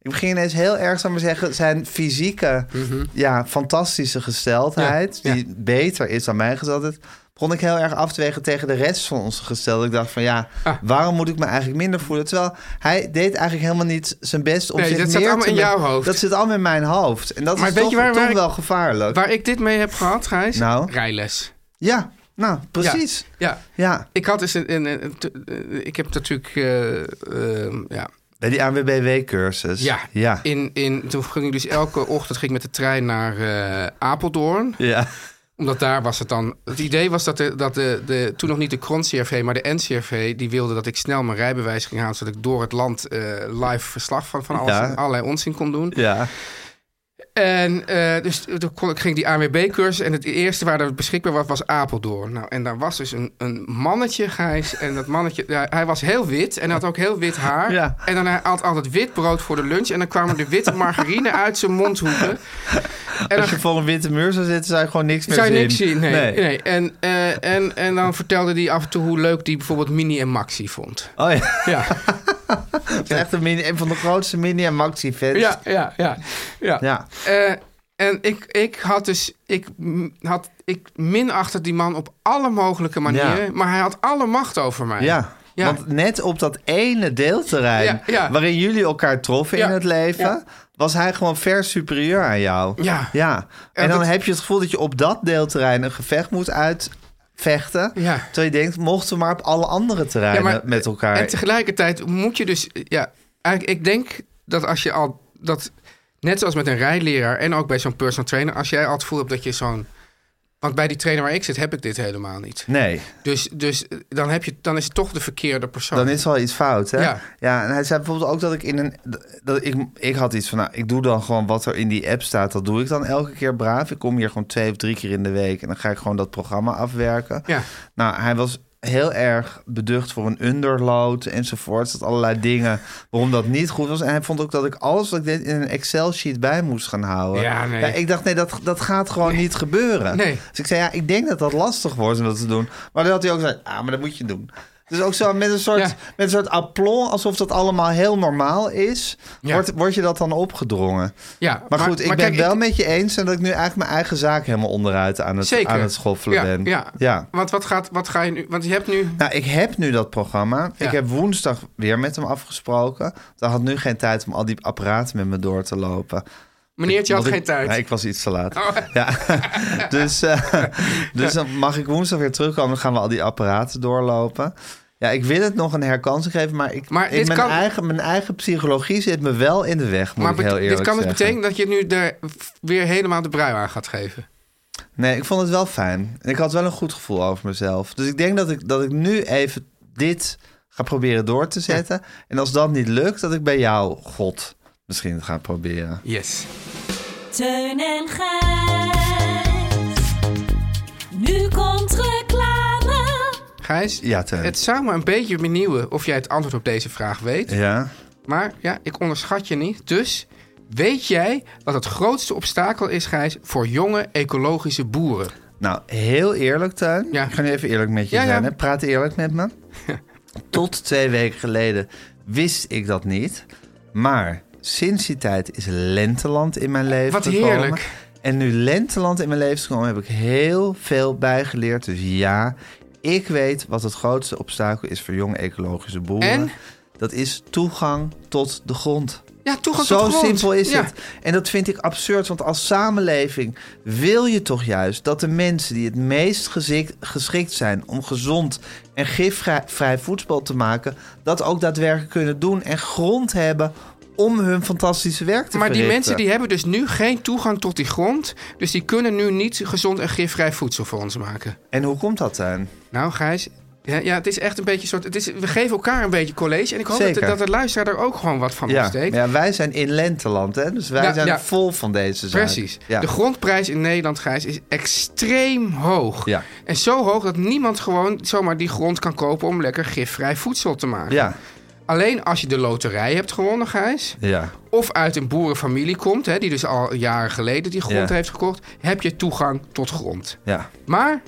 Ik begin ineens heel erg, zou ik maar zeggen, zijn fysieke, ja, fantastische gesteldheid, Mhm. Ja, ja. die beter is dan mijn gesteldheid, begon ik heel erg af te wegen tegen de rest van onze gesteldheid. Ik dacht van ja, Ah. waarom moet ik me eigenlijk minder voelen? Terwijl hij deed eigenlijk helemaal niet zijn best om Nee, zich dat zat neer allemaal te in men- jouw hoofd. Dat zit allemaal in mijn hoofd. En dat Maar is weet toch, je waar- toch waar ik- wel gevaarlijk. Waar ik dit mee heb gehad, Gijs? Nou? Rijles. Ja, nou, precies. Ja. Ja. Ik had dus een... een- een- te- eh, ik heb natuurlijk... eh, eh, ja. Bij die ANWBW-cursus. Ja. Ja. In, in, toen ging ik dus elke ochtend ging ik met de trein naar eh, Apeldoorn. Ja. Omdat daar was het dan... Het idee was dat, de, dat de, de, toen nog niet de CRON-CRV, maar de NCRV... die wilde dat ik snel mijn rijbewijs ging halen... zodat ik door het land eh, live verslag van, van alles, Ja. allerlei onzin kon doen. Ja. En eh, dus toen kon, ik ging die ANWB-cursus en het eerste waar dat beschikbaar was, was Apeldoorn. Nou, en daar was dus een, een mannetje, Gijs. En dat mannetje, ja, hij was heel wit en had ook heel wit haar. Ja. En dan hij had altijd wit brood voor de lunch. En dan kwamen de witte margarine uit zijn mondhoeken. En dan Als je voor een witte muur zou zitten, zou je gewoon niks meer zou je zien. niks zien. Nee, nee. Nee. En, eh, en, en dan vertelde hij af en toe hoe leuk hij bijvoorbeeld Mini en Maxi vond. Oh ja, Ja, het is echt een, mini, een van de grootste mini- en maxi-fans. ja, ja, ja. ja. Ja. Eh, en ik, ik had dus, ik m- had, ik minachtte die man op alle mogelijke manieren, Ja. maar hij had alle macht over mij. Ja. Ja. Want net op dat ene deelterrein Ja, ja. waarin jullie elkaar troffen Ja, in het leven, ja. was hij gewoon ver superieur aan jou. Ja. En Ja, dan dat- heb je het gevoel dat je op dat deelterrein een gevecht moet uitvechten. Ja. Terwijl je denkt, mochten we maar op alle andere Ja, terreinen maar- met elkaar. En tegelijkertijd moet je dus, ja, eigenlijk, ik denk dat als je al, dat, net zoals met een rijleraar en ook bij zo'n personal trainer, als jij al het gevoel hebt dat je zo'n, want bij die trainer waar ik zit heb ik dit helemaal niet. Nee, Dus, dus eh, dan, heb je, dan is het toch de verkeerde persoon. dan is er al iets fout, hè? Ja. en hij zei bijvoorbeeld ook dat ik in een... Dat ik, ik had iets van, nou, ik doe dan gewoon wat er in die app staat. Dat doe ik dan elke keer braaf. Ik kom hier gewoon twee of drie keer in de week... en dan ga ik gewoon dat programma afwerken. Ja. Nou, hij was heel erg beducht voor een underload enzovoort. Dat allerlei dingen waarom dat niet goed was. En hij vond ook dat ik alles wat ik deed in een Excel-sheet bij moest gaan houden. Ja, nee. ik dacht, nee, dat, dat gaat gewoon niet gebeuren. Nee. Dus ik zei, ja, ik denk dat dat lastig wordt om dat te doen. Maar dan had hij ook gezegd, ah, maar dat moet je doen. Dus ook zo met een soort, Ja. met een soort aplomb, alsof dat allemaal heel normaal is, Ja. wordt, wordt je dat dan opgedrongen. Ja, Maar, goed, ik ben kijk, wel met je eens en dat ik nu eigenlijk mijn eigen zaak helemaal onderuit aan het, Zeker. aan het schoffelen ja, ben. Ja. ja. Want wat, gaat, wat ga je nu? Want je hebt nu. Nou, ik heb nu dat programma. Ja. Ik heb woensdag weer met hem afgesproken. Dan had nu geen tijd om al die apparaten met me door te lopen. Meneertje had Want geen ik- tijd. Nee, ik was iets te laat. Oh. Ja. dus eh, dus dan mag ik woensdag weer terugkomen. Dan gaan we al die apparaten doorlopen. Ja, ik wil het nog een herkansing geven, maar, ik, Maar ik- dit mijn, kan- eigen, mijn eigen psychologie zit me wel in de weg, moet maar ik heel bet- eerlijk dit kan dus zeggen. betekenen dat je nu er weer helemaal de brui aan gaat geven. Nee, ik vond het wel fijn. En Ik had wel een goed gevoel over mezelf. Dus ik denk dat ik, dat ik nu even dit ga proberen door te zetten. En als dat niet lukt, dat ik bij jou, God, misschien het ga proberen. Yes. Teun en Gijs. Nu komt reclame. Gijs, Ja, Teun. het zou me een beetje benieuwen of jij het antwoord op deze vraag weet. Ja? Maar ja, ik onderschat je niet. Dus weet jij wat het grootste obstakel is, Gijs, voor jonge ecologische boeren? Nou, heel eerlijk, Tuin. Ja. Ik ga nu even eerlijk met je Ja, zijn. ja. Hè? Praat eerlijk met me. Tot twee weken geleden wist ik dat niet. Maar sinds die tijd is lenteland in mijn leven Eh, Wat gekomen. heerlijk. En nu lenteland in mijn leven is gekomen, heb ik heel veel bijgeleerd. Dus ja, ik weet wat het grootste obstakel is voor jonge ecologische boeren. En? Dat is toegang tot de grond. Ja, toegang Zo tot grond. simpel is Ja. het. En dat vind ik absurd, want als samenleving wil je toch juist dat de mensen die het meest gezik- geschikt zijn om gezond en gifvrij vrij voedsel te maken, dat ook daadwerkelijk kunnen doen en grond hebben om hun fantastische werk te Maar die verrichten. mensen die hebben dus nu geen toegang tot die grond. Dus die kunnen nu niet gezond en gifvrij voedsel voor ons maken. En hoe komt dat dan? Nou, Gijs. Ja, ja, het is echt een beetje een soort. Het is, we geven elkaar een beetje college. En ik hoop dat, Zeker. dat de luisteraar er ook gewoon wat van Ja, steekt. ja, wij zijn in lenteland, hè? dus wij Ja, zijn ja. vol van deze zaak. Precies. Ja. De grondprijs in Nederland, Gijs, is extreem hoog. Ja. En zo hoog dat niemand gewoon zomaar die grond kan kopen om lekker gifvrij voedsel te maken. ja, Alleen als je de loterij hebt gewonnen, Gijs. ja. Of uit een boerenfamilie komt, hè, die dus al jaren geleden die grond Ja. heeft gekocht, heb je toegang tot grond. ja. Maar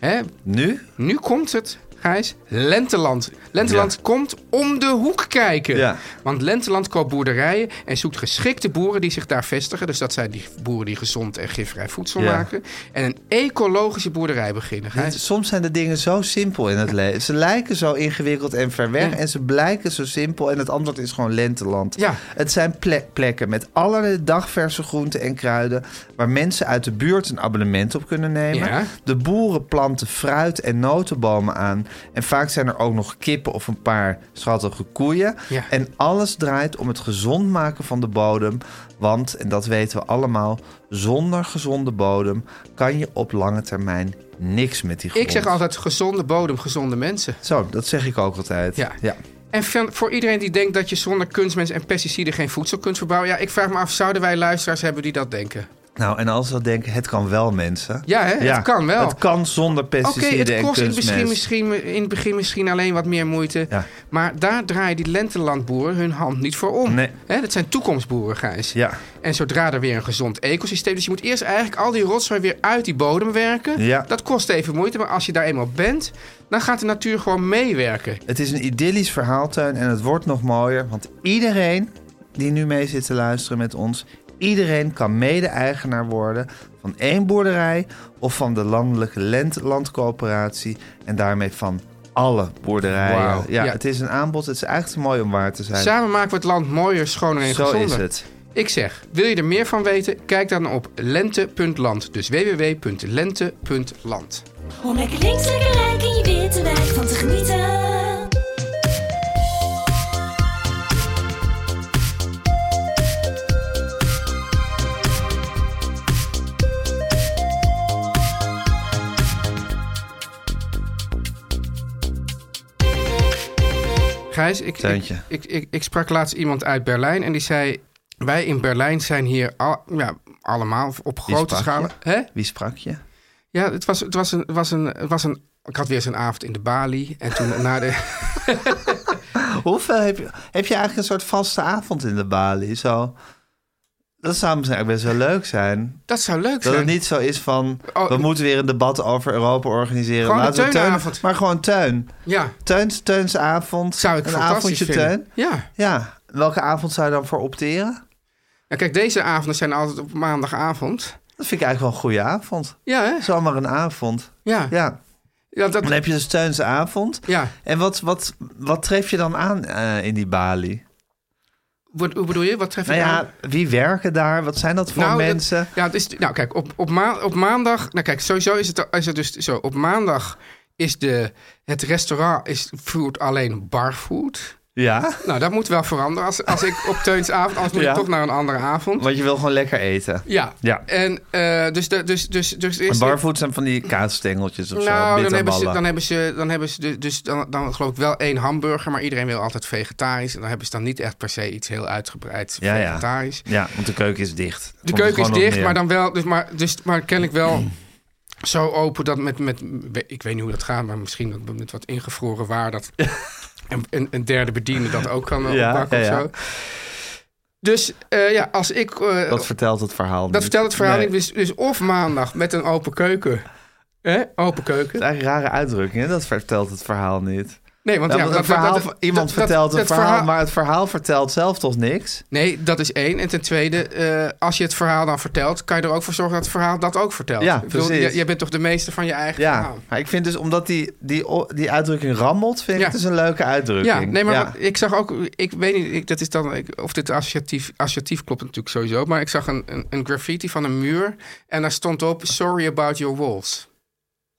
hè, Nu? nu komt het, Gijs. Lenteland. Lenteland Ja. komt om de hoek kijken. Ja. Want Lenteland koopt boerderijen en zoekt geschikte boeren die zich daar vestigen. Dus dat zijn die boeren die gezond en gifvrij voedsel Ja. maken. En een ecologische boerderij beginnen, Dit- Gijs. soms zijn de dingen zo simpel in het leven. Ze lijken zo ingewikkeld en ver weg. Ja. En ze blijken zo simpel. En het antwoord is gewoon lenteland. Ja. Het zijn ple- plekken met allerlei dagverse groenten en kruiden. Waar mensen uit de buurt een abonnement op kunnen nemen. Ja. De boeren planten fruit en notenbomen aan. En vaak zijn er ook nog kippen of een paar schattige koeien. Ja. En alles draait om het gezond maken van de bodem. Want, en dat weten we allemaal, zonder gezonde bodem kan je op lange termijn niks met die grond. Ik zeg altijd gezonde bodem, gezonde mensen. Zo, dat zeg ik ook altijd. Ja. ja. En van- voor iedereen die denkt dat je zonder kunstmest en pesticiden geen voedsel kunt verbouwen. Ja, ik vraag me af, zouden wij luisteraars hebben die dat denken? Nou, en als we dat denken, het kan wel, mensen. Ja, hè? het kan wel. Het kan zonder Oké, pesticiden het en kost in het, kunstmest. begin misschien, in het begin misschien alleen wat meer moeite. Ja. Maar daar draaien die lentelandboeren hun hand niet voor om. Nee. Hè, dat zijn toekomstboeren, Gijs. Ja, En zodra er weer een gezond ecosysteem is... je moet eerst eigenlijk al die rotzooi weer uit die bodem werken. Ja. Dat kost even moeite, maar als je daar eenmaal bent... dan gaat de natuur gewoon meewerken. het is een idyllisch verhaaltuin en het wordt nog mooier. Want iedereen die nu mee zit te luisteren met ons... iedereen kan mede-eigenaar worden van één boerderij... of van de landelijke Lent- landcoöperatie en daarmee van... Alle boerderijen. Wauw. Ja, Ja. het is een aanbod. Het is echt te mooi om waar te zijn. Samen maken we het land mooier, schoner en Zo gezonder. is het. Ik zeg, wil je er meer van weten? Kijk dan op lente.land. Dus www.lente.land. Om lekker links, lekker rijk in je witte wijk van te genieten. Gijs, ik, ik, Tuintje. ik, ik, ik sprak laatst iemand uit Berlijn en die zei... Wij in Berlijn zijn hier al, ja, allemaal op grote sprak schaal... Hè? Wie sprak je? Ja, het was, het was, een, was, een, was een... Ik had weer zo'n avond in de Bali en toen na de... Hoeveel heb je, heb je eigenlijk een soort vaste avond in de balie? Zo, dat zou misschien eigenlijk best wel leuk zijn. Dat zou leuk Dat zijn. het niet zo is van, Oh, we moeten weer een debat over Europa organiseren. Gewoon een Laten we teunavond. maar gewoon tuin. Ja, Tuins, tuinsavond. zou ik een fantastisch avondje vinden. tuin. Ja. Ja, welke avond zou je dan voor opteren? Nou, kijk, deze avonden zijn altijd op maandagavond. Dat vind ik eigenlijk wel een goede avond. Ja, hè? Zomaar een avond. Ja. Ja, Ja, dat, dan heb je dus tuinsavond. ja. En wat, wat, wat tref je dan aan eh, in die balie? Wat, hoe bedoel je? Wat tref je Nou aan? ja, wie werken daar? Wat zijn dat voor Nou, dat- mensen? ja, het is, nou kijk, op, op, ma op maandag... Nou kijk, sowieso is het, is het dus zo. Op maandag is de, het restaurant is voert alleen barfood. Ja. Nou, dat moet wel veranderen als, als ik op Teunsavond... anders moet Ja. ik toch naar een andere avond. Want je wil gewoon lekker eten. Ja. Ja. En eh, dus, de, dus, dus, dus is En barfood zijn van die kaasstengeltjes of zo. Nou, dan hebben, ze, bitterballen. dan hebben ze, dan hebben ze de- dus dan, dan geloof ik wel één hamburger, maar iedereen wil altijd vegetarisch. En dan hebben ze dan niet echt per se iets heel uitgebreid Ja, ja. vegetarisch. Ja, want de keuken is dicht. De keuken is dicht, maar dan wel. Dus maar, dus, maar kennelijk wel Mm. zo open dat met, met. Ik weet niet hoe dat gaat, maar misschien dat met wat ingevroren waar dat. Een, een, een derde bediende dat ook kan eh, Ja, oppakken ja, of ja. zo. Dus eh, ja, als ik... eh, Dat vertelt het verhaal dat vertelt het verhaal niet. Dus, dus of maandag met een open keuken. Hè? Open Het keuken. is eigenlijk een rare uitdrukking, hè? dat vertelt het verhaal niet. Nee, want Ja, ja, want dat- een verhaal, dat- van- dat- iemand dat- vertelt dat het verhaal, maar het verhaal vertelt zelf toch niks? Nee, dat is één. En ten tweede, eh, als je het verhaal dan vertelt... kan je er ook voor zorgen dat het verhaal dat ook vertelt. Ja, Ik bedoel, precies. je, je bent toch de meester van je eigen Ja, verhaal? maar ik vind dus, omdat die, die, o- die uitdrukking rammelt, vind Ja. ik het dus een leuke uitdrukking. Ja, nee, maar Ja. wat- ik zag ook, ik weet niet, ik, dat is dan, ik- of dit associatief, associatief klopt natuurlijk sowieso, maar ik zag een, een, een graffiti van een muur en daar stond op, sorry about your walls.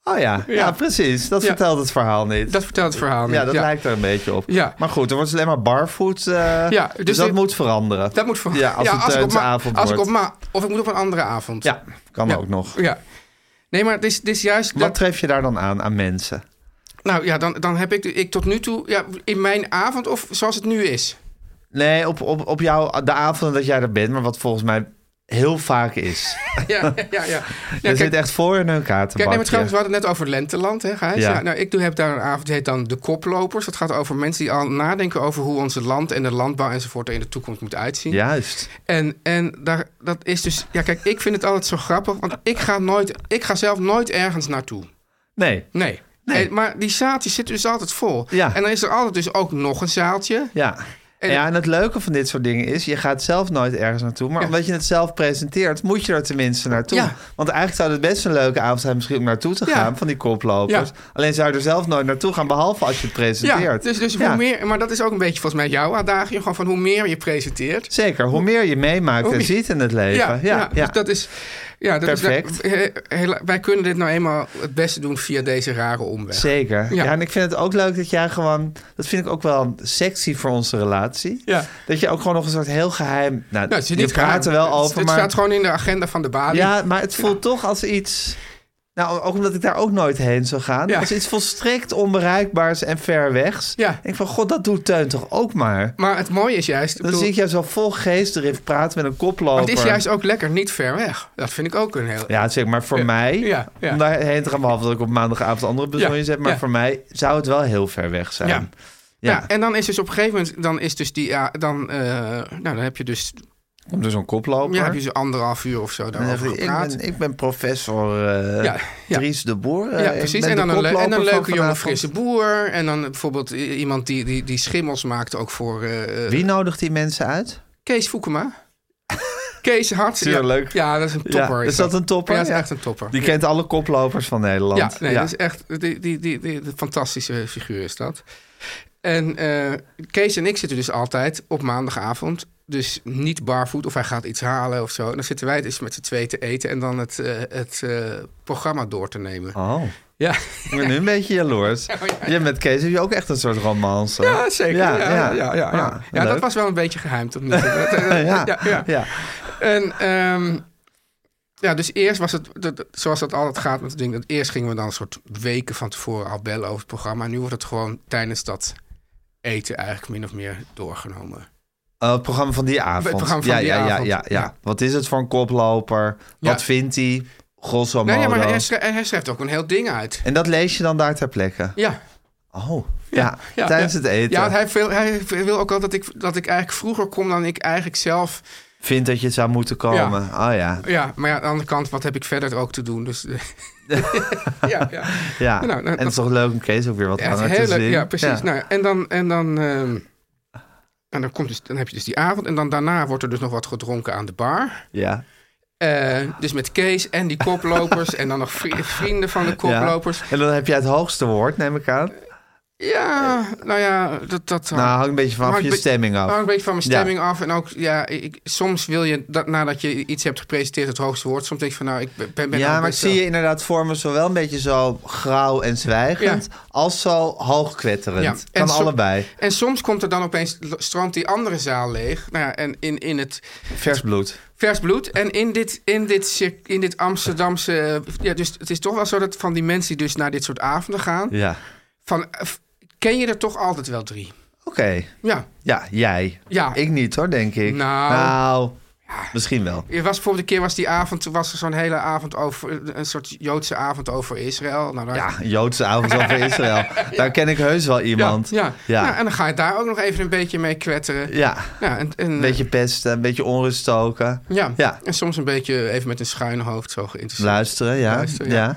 Oh ja, ja. Ja. precies. Dat Ja. vertelt het verhaal niet. Dat vertelt het verhaal ja, niet. dat lijkt er een beetje op. Ja. Maar goed, er wordt dus alleen maar barfoot. eh, Ja, dus, dus dat dit- moet veranderen. Dat moet voor, Ja, als het eh, ik op ma- avond als ik wordt. op ma- Of ik moet op een andere avond. Ja, kan Ja. ook nog. Ja. Nee, maar het is, het is juist... Wat dat- tref je daar dan aan, aan mensen? nou ja, dan, dan heb ik, ik tot nu toe, ja, in mijn avond of zoals het nu is. Nee, op, op, op jou, de avonden dat jij er bent, maar wat volgens mij heel vaak is. Ja, ja, ja. ja er kijk, zit echt voor in hun Kijk, nee, kaartenbakje. maar trouwens, we hadden het net over lenteland, hè, Gijs? Ja. Ja. nou, ik doe, heb daar een avond, die heet dan De Koplopers. Dat gaat over mensen die al nadenken over hoe onze land en de landbouw enzovoort er in de toekomst moet uitzien. Juist. En, en daar, dat is dus... Ja, kijk, ik vind het altijd zo grappig, want ik ga, nooit, ik ga zelf nooit ergens naartoe. Nee, Nee. En- maar die zaaltjes zitten dus altijd vol. Ja. En dan is er altijd dus ook nog een zaaltje. ja. En, En- ja, en het leuke van dit soort dingen is, je gaat zelf nooit ergens naartoe. Maar Ja. omdat je het zelf presenteert, moet je er tenminste naartoe. Ja. Want eigenlijk zou het best een leuke avond zijn misschien om naartoe te Ja. gaan van die koplopers. Ja. Alleen zou je er zelf nooit naartoe gaan, behalve als je het Ja, presenteert. dus, dus Ja. hoe meer... Maar dat is ook een beetje volgens mij jouw uitdaging. Gewoon van hoe meer je presenteert... Zeker, hoe meer je meemaakt Hoe en meer- ziet in het leven. Ja, ja, Dus dat is, ja, dat is- Perfect. he- hela- wij kunnen dit nou eenmaal het beste doen via deze rare omweg. Zeker. Ja. Ja. en ik vind het ook leuk dat jij gewoon... Dat vind ik ook wel sexy voor onze relatie. Ja. Dat je ook gewoon nog een soort heel geheim... Nou, Nou, het is je niet praat er geheim. wel Het- over, Het maar... staat gewoon in de agenda van de balie. Ja, maar het voelt toch als iets... Nou, ook omdat ik daar ook nooit heen zou gaan. Ja. Als iets volstrekt onbereikbaars en ver wegs. Ja. Ik denk van, god, dat doet Teun toch ook maar? Maar het mooie is juist... ik Dan bedoel, zie ik jou zo vol geestdrift praten met een koploper. maar het is juist ook lekker niet ver weg. Dat vind ik ook een heel... Ja, zeg maar voor mij, ja, ja. om daarheen te gaan... behalve dat ik op maandagavond andere bezonjes heb... maar ja. voor mij zou het wel heel ver weg zijn. Ja. Ja, en dan is dus op een gegeven moment... Dan is dus die... Ja, dan, eh, nou, dan heb je dus... Komt er zo'n koploper. Ja, heb je zo anderhalf uur of zo En dan daarover zeg ik, ik, gepraat. ben, ik ben professor eh Ja, ja. Dries de Boer. eh, Ja, ik precies. ben En de dan, een, le- en koploper een van leuke jonge vanavond. frisse boer. En dan bijvoorbeeld i- iemand die, die, die schimmels maakt ook voor... eh, eh, Wie nodigt die mensen uit? Kees Voekema. Kees Hart. Ja, Tuurlijk. Ja, dat is een topper. Ja, is dat een topper? Ja, dat is Ja. echt een topper. Die kent alle koplopers van Nederland. ja, nee, dus- dat is echt die, die, die, die, die fantastische figuur is dat. En eh, Kees en ik zitten dus altijd op maandagavond. Dus niet barvoet of hij gaat iets halen of zo. En dan zitten wij dus met z'n twee te eten en dan het, eh, het eh, programma door te nemen. Oh, Ja. ik ben nu een beetje jaloers. ja. Je met Kees heb je ook echt een soort romance. Ja, zeker. Ja, ja, ja, ja, ja. Ah, Ja, leuk. dat was wel een beetje geheim tot nu toe. Dat, eh, Ja, ja, ja. ja. En ehm, ja, dus eerst was het, dat, dat- zoals dat altijd gaat met het ding, dat eerst gingen we dan een soort weken van tevoren al bellen over het programma. En nu wordt het gewoon tijdens dat eten eigenlijk min of meer doorgenomen. Eh, het programma van die avond. Het programma van ja, die ja, ja, avond. Ja, ja, Ja. Wat is het voor een koploper? Ja. Wat vindt hij? Grosso modo. Nee, ja, maar hij, schrijft, hij schrijft ook een heel ding uit. En dat lees je dan daar ter plekke? Ja. Oh, ja. Ja, ja, Tijdens ja. het eten. Ja, want hij, wil- hij wil ook al dat ik, dat ik eigenlijk vroeger kom dan ik eigenlijk zelf. vindt dat je het zou moeten komen. Oh ja. Ja, maar ja, aan de andere kant, wat heb ik verder ook te doen? Dus ja, ja. ja. Nou, nou, en het is toch leuk om Kees ook weer wat Ja, langer heel te leuk. zien. Ja, precies. Nou, ja, en dan, en dan, ehm, en dan, komt dus, dan heb je dus die avond. En dan daarna wordt er dus nog wat gedronken aan de bar. ja. Eh, dus met Kees en die koplopers. en dan nog vri- vrienden van de koplopers. En dan heb jij het hoogste woord, neem ik aan. Ja, nou ja, dat... dat Nou, hangt een beetje vanaf hangt je be- stemming hangt af. een beetje van mijn Ja. stemming af. En ook, ja, ik, soms wil je, dat, nadat je iets hebt gepresenteerd, het hoogste woord. Soms denk je van, nou, ik ben... ben nou Ja, maar ik best zie wel- je inderdaad voor me zowel een beetje zo grauw en zwijgend... als zo Ja, hoogkwetterend. en Kan zo- allebei. En soms komt er dan opeens, stroomt die andere zaal leeg. Nou ja, en in, in het... Vers bloed. Vers bloed. En in dit, in dit, cir- in dit Amsterdamse. eh, Ja, dus het is toch wel zo dat van die mensen die dus naar dit soort avonden gaan. Ja. Van, eh, f- ken je er toch altijd wel drie? Oké. Ja. Ja, jij. Ja. Ik niet hoor, denk ik. Nou. nou Misschien wel. Er was bijvoorbeeld een keer was die avond, was er zo'n hele avond over, eh, een soort Joodse avond over Israël. Nou, daar- Ja, een Joodse avond over Israël. Daar ken ik heus wel iemand. Ja, ja. Ja. Nou, en dan ga je daar ook nog even een beetje mee kwetteren. Ja, Ja, en, en, een beetje pesten, een beetje onrust stoken. ja. Ja. Nou. en soms een beetje even met een schuin hoofd zo geïnteresseerd. Luisteren, ja. Luisteren, ja. ja.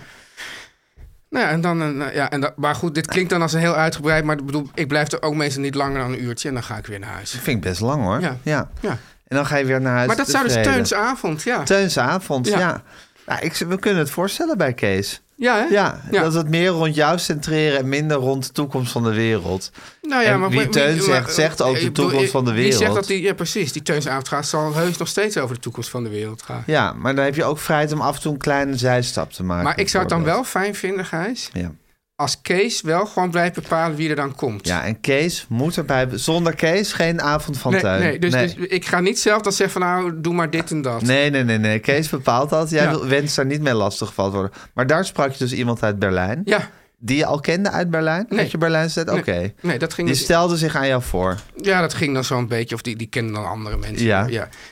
Nou, ja, en dan, een, eh, ja, en dan, maar goed, dit klinkt dan als een heel uitgebreid, maar ik bedoel, ik blijf er ook meestal niet langer dan een uurtje en dan ga ik weer naar huis. Dat vind ik best lang hoor. Ja. Ja. Ja. En dan ga je weer naar huis. Maar dat zou dus tevreden. Teuns avond, ja. Teunsavond, Ja. ja. Nou, ik, we kunnen het voorstellen bij Kees. Ja, hè? Ja, Ja. dat het meer rond jou centreren en minder rond de toekomst van de wereld. Nou ja, En maar wie Teun zegt, zegt ook ik de bedoel, toekomst ik- van de Wie zegt wereld. dat die, ja, precies, die Teunsavond gaat, zal heus nog steeds over de toekomst van de wereld gaan. Ja, maar dan heb je ook vrijheid om af en toe een kleine zijstap te maken. Maar ik zou het dan wel bijvoorbeeld. fijn vinden, Gijs, Ja. als Kees wel gewoon blijft bepalen wie er dan komt. ja, en Kees moet erbij. Zonder Kees geen avond van nee, tuin. nee, dus, eh, nee. dus ik ga niet zelf dan zeggen van nou, doe maar dit en dat. Nee, nee, nee, nee. Kees bepaalt dat. Jij Ja. wil- wenst daar niet mee lastig gevallen worden. Maar daar sprak je dus iemand uit Berlijn. Ja, Die je al kende uit Berlijn? Nee. Dat je Berlijn zet? Oké. nee, nee, dat ging Die dus- stelde zich aan jou voor. Ja, dat ging dan zo'n beetje, of die, die kenden dan andere mensen. Ja.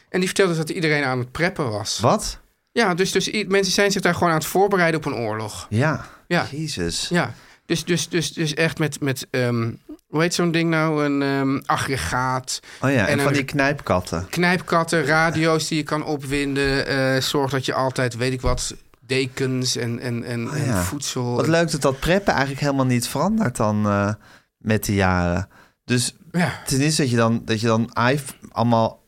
En die vertelde dus dat iedereen aan het preppen was. Wat? Ja, dus, dus i- mensen zijn zich daar gewoon aan het voorbereiden op een oorlog. Ja. Ja. Jezus. Ja, dus, dus, dus, dus echt met, met ehm, hoe heet zo'n ding nou? Een ehm, aggregaat, Oh ja, en, En van een- die knijpkatten. knijpkatten, radio's die je kan opwinden. eh, zorg dat je altijd, weet ik wat, dekens en, en, en, en Oh, ja. voedsel. Wat en- leuk dat dat preppen eigenlijk helemaal niet verandert dan eh, met de jaren. Dus Ja. het is niet zo dat je dan, dat je dan iPh- allemaal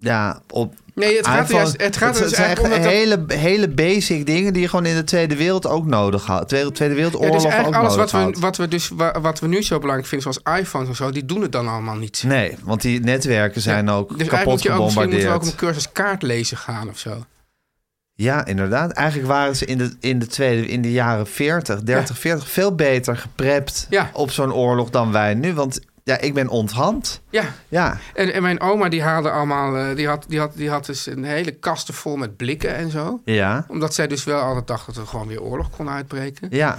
ja, op Nee, het gaat, er iPhone- juist, het gaat er dus zijn eigenlijk om dat... echt dat- hele, hele basic dingen die je gewoon in de Tweede Wereld ook nodig had. Tweede, Tweede Ja, Wereldoorlog dus ook eigenlijk alles nodig wat we, had. wat, we dus, wa- wat we nu zo belangrijk vinden, zoals iPhones en zo, die doen het dan allemaal niet. Nee, want die netwerken zijn Ja, ook dus eigenlijk kapot moet je ook, misschien moeten gebombardeerd. we ook op een cursus kaartlezen gaan of zo. Ja, inderdaad. Eigenlijk waren ze in de, in de, tweede, in de jaren 40, 30, 40 veel beter geprept Ja. op zo'n oorlog dan wij nu. Want ja, ik ben onthand. Ja, Ja, en, en mijn oma die haalde allemaal, eh, die, had, die, had, die had dus een hele kasten vol met blikken en zo. ja, Omdat zij dus wel altijd dacht dat er gewoon weer oorlog kon uitbreken. ja.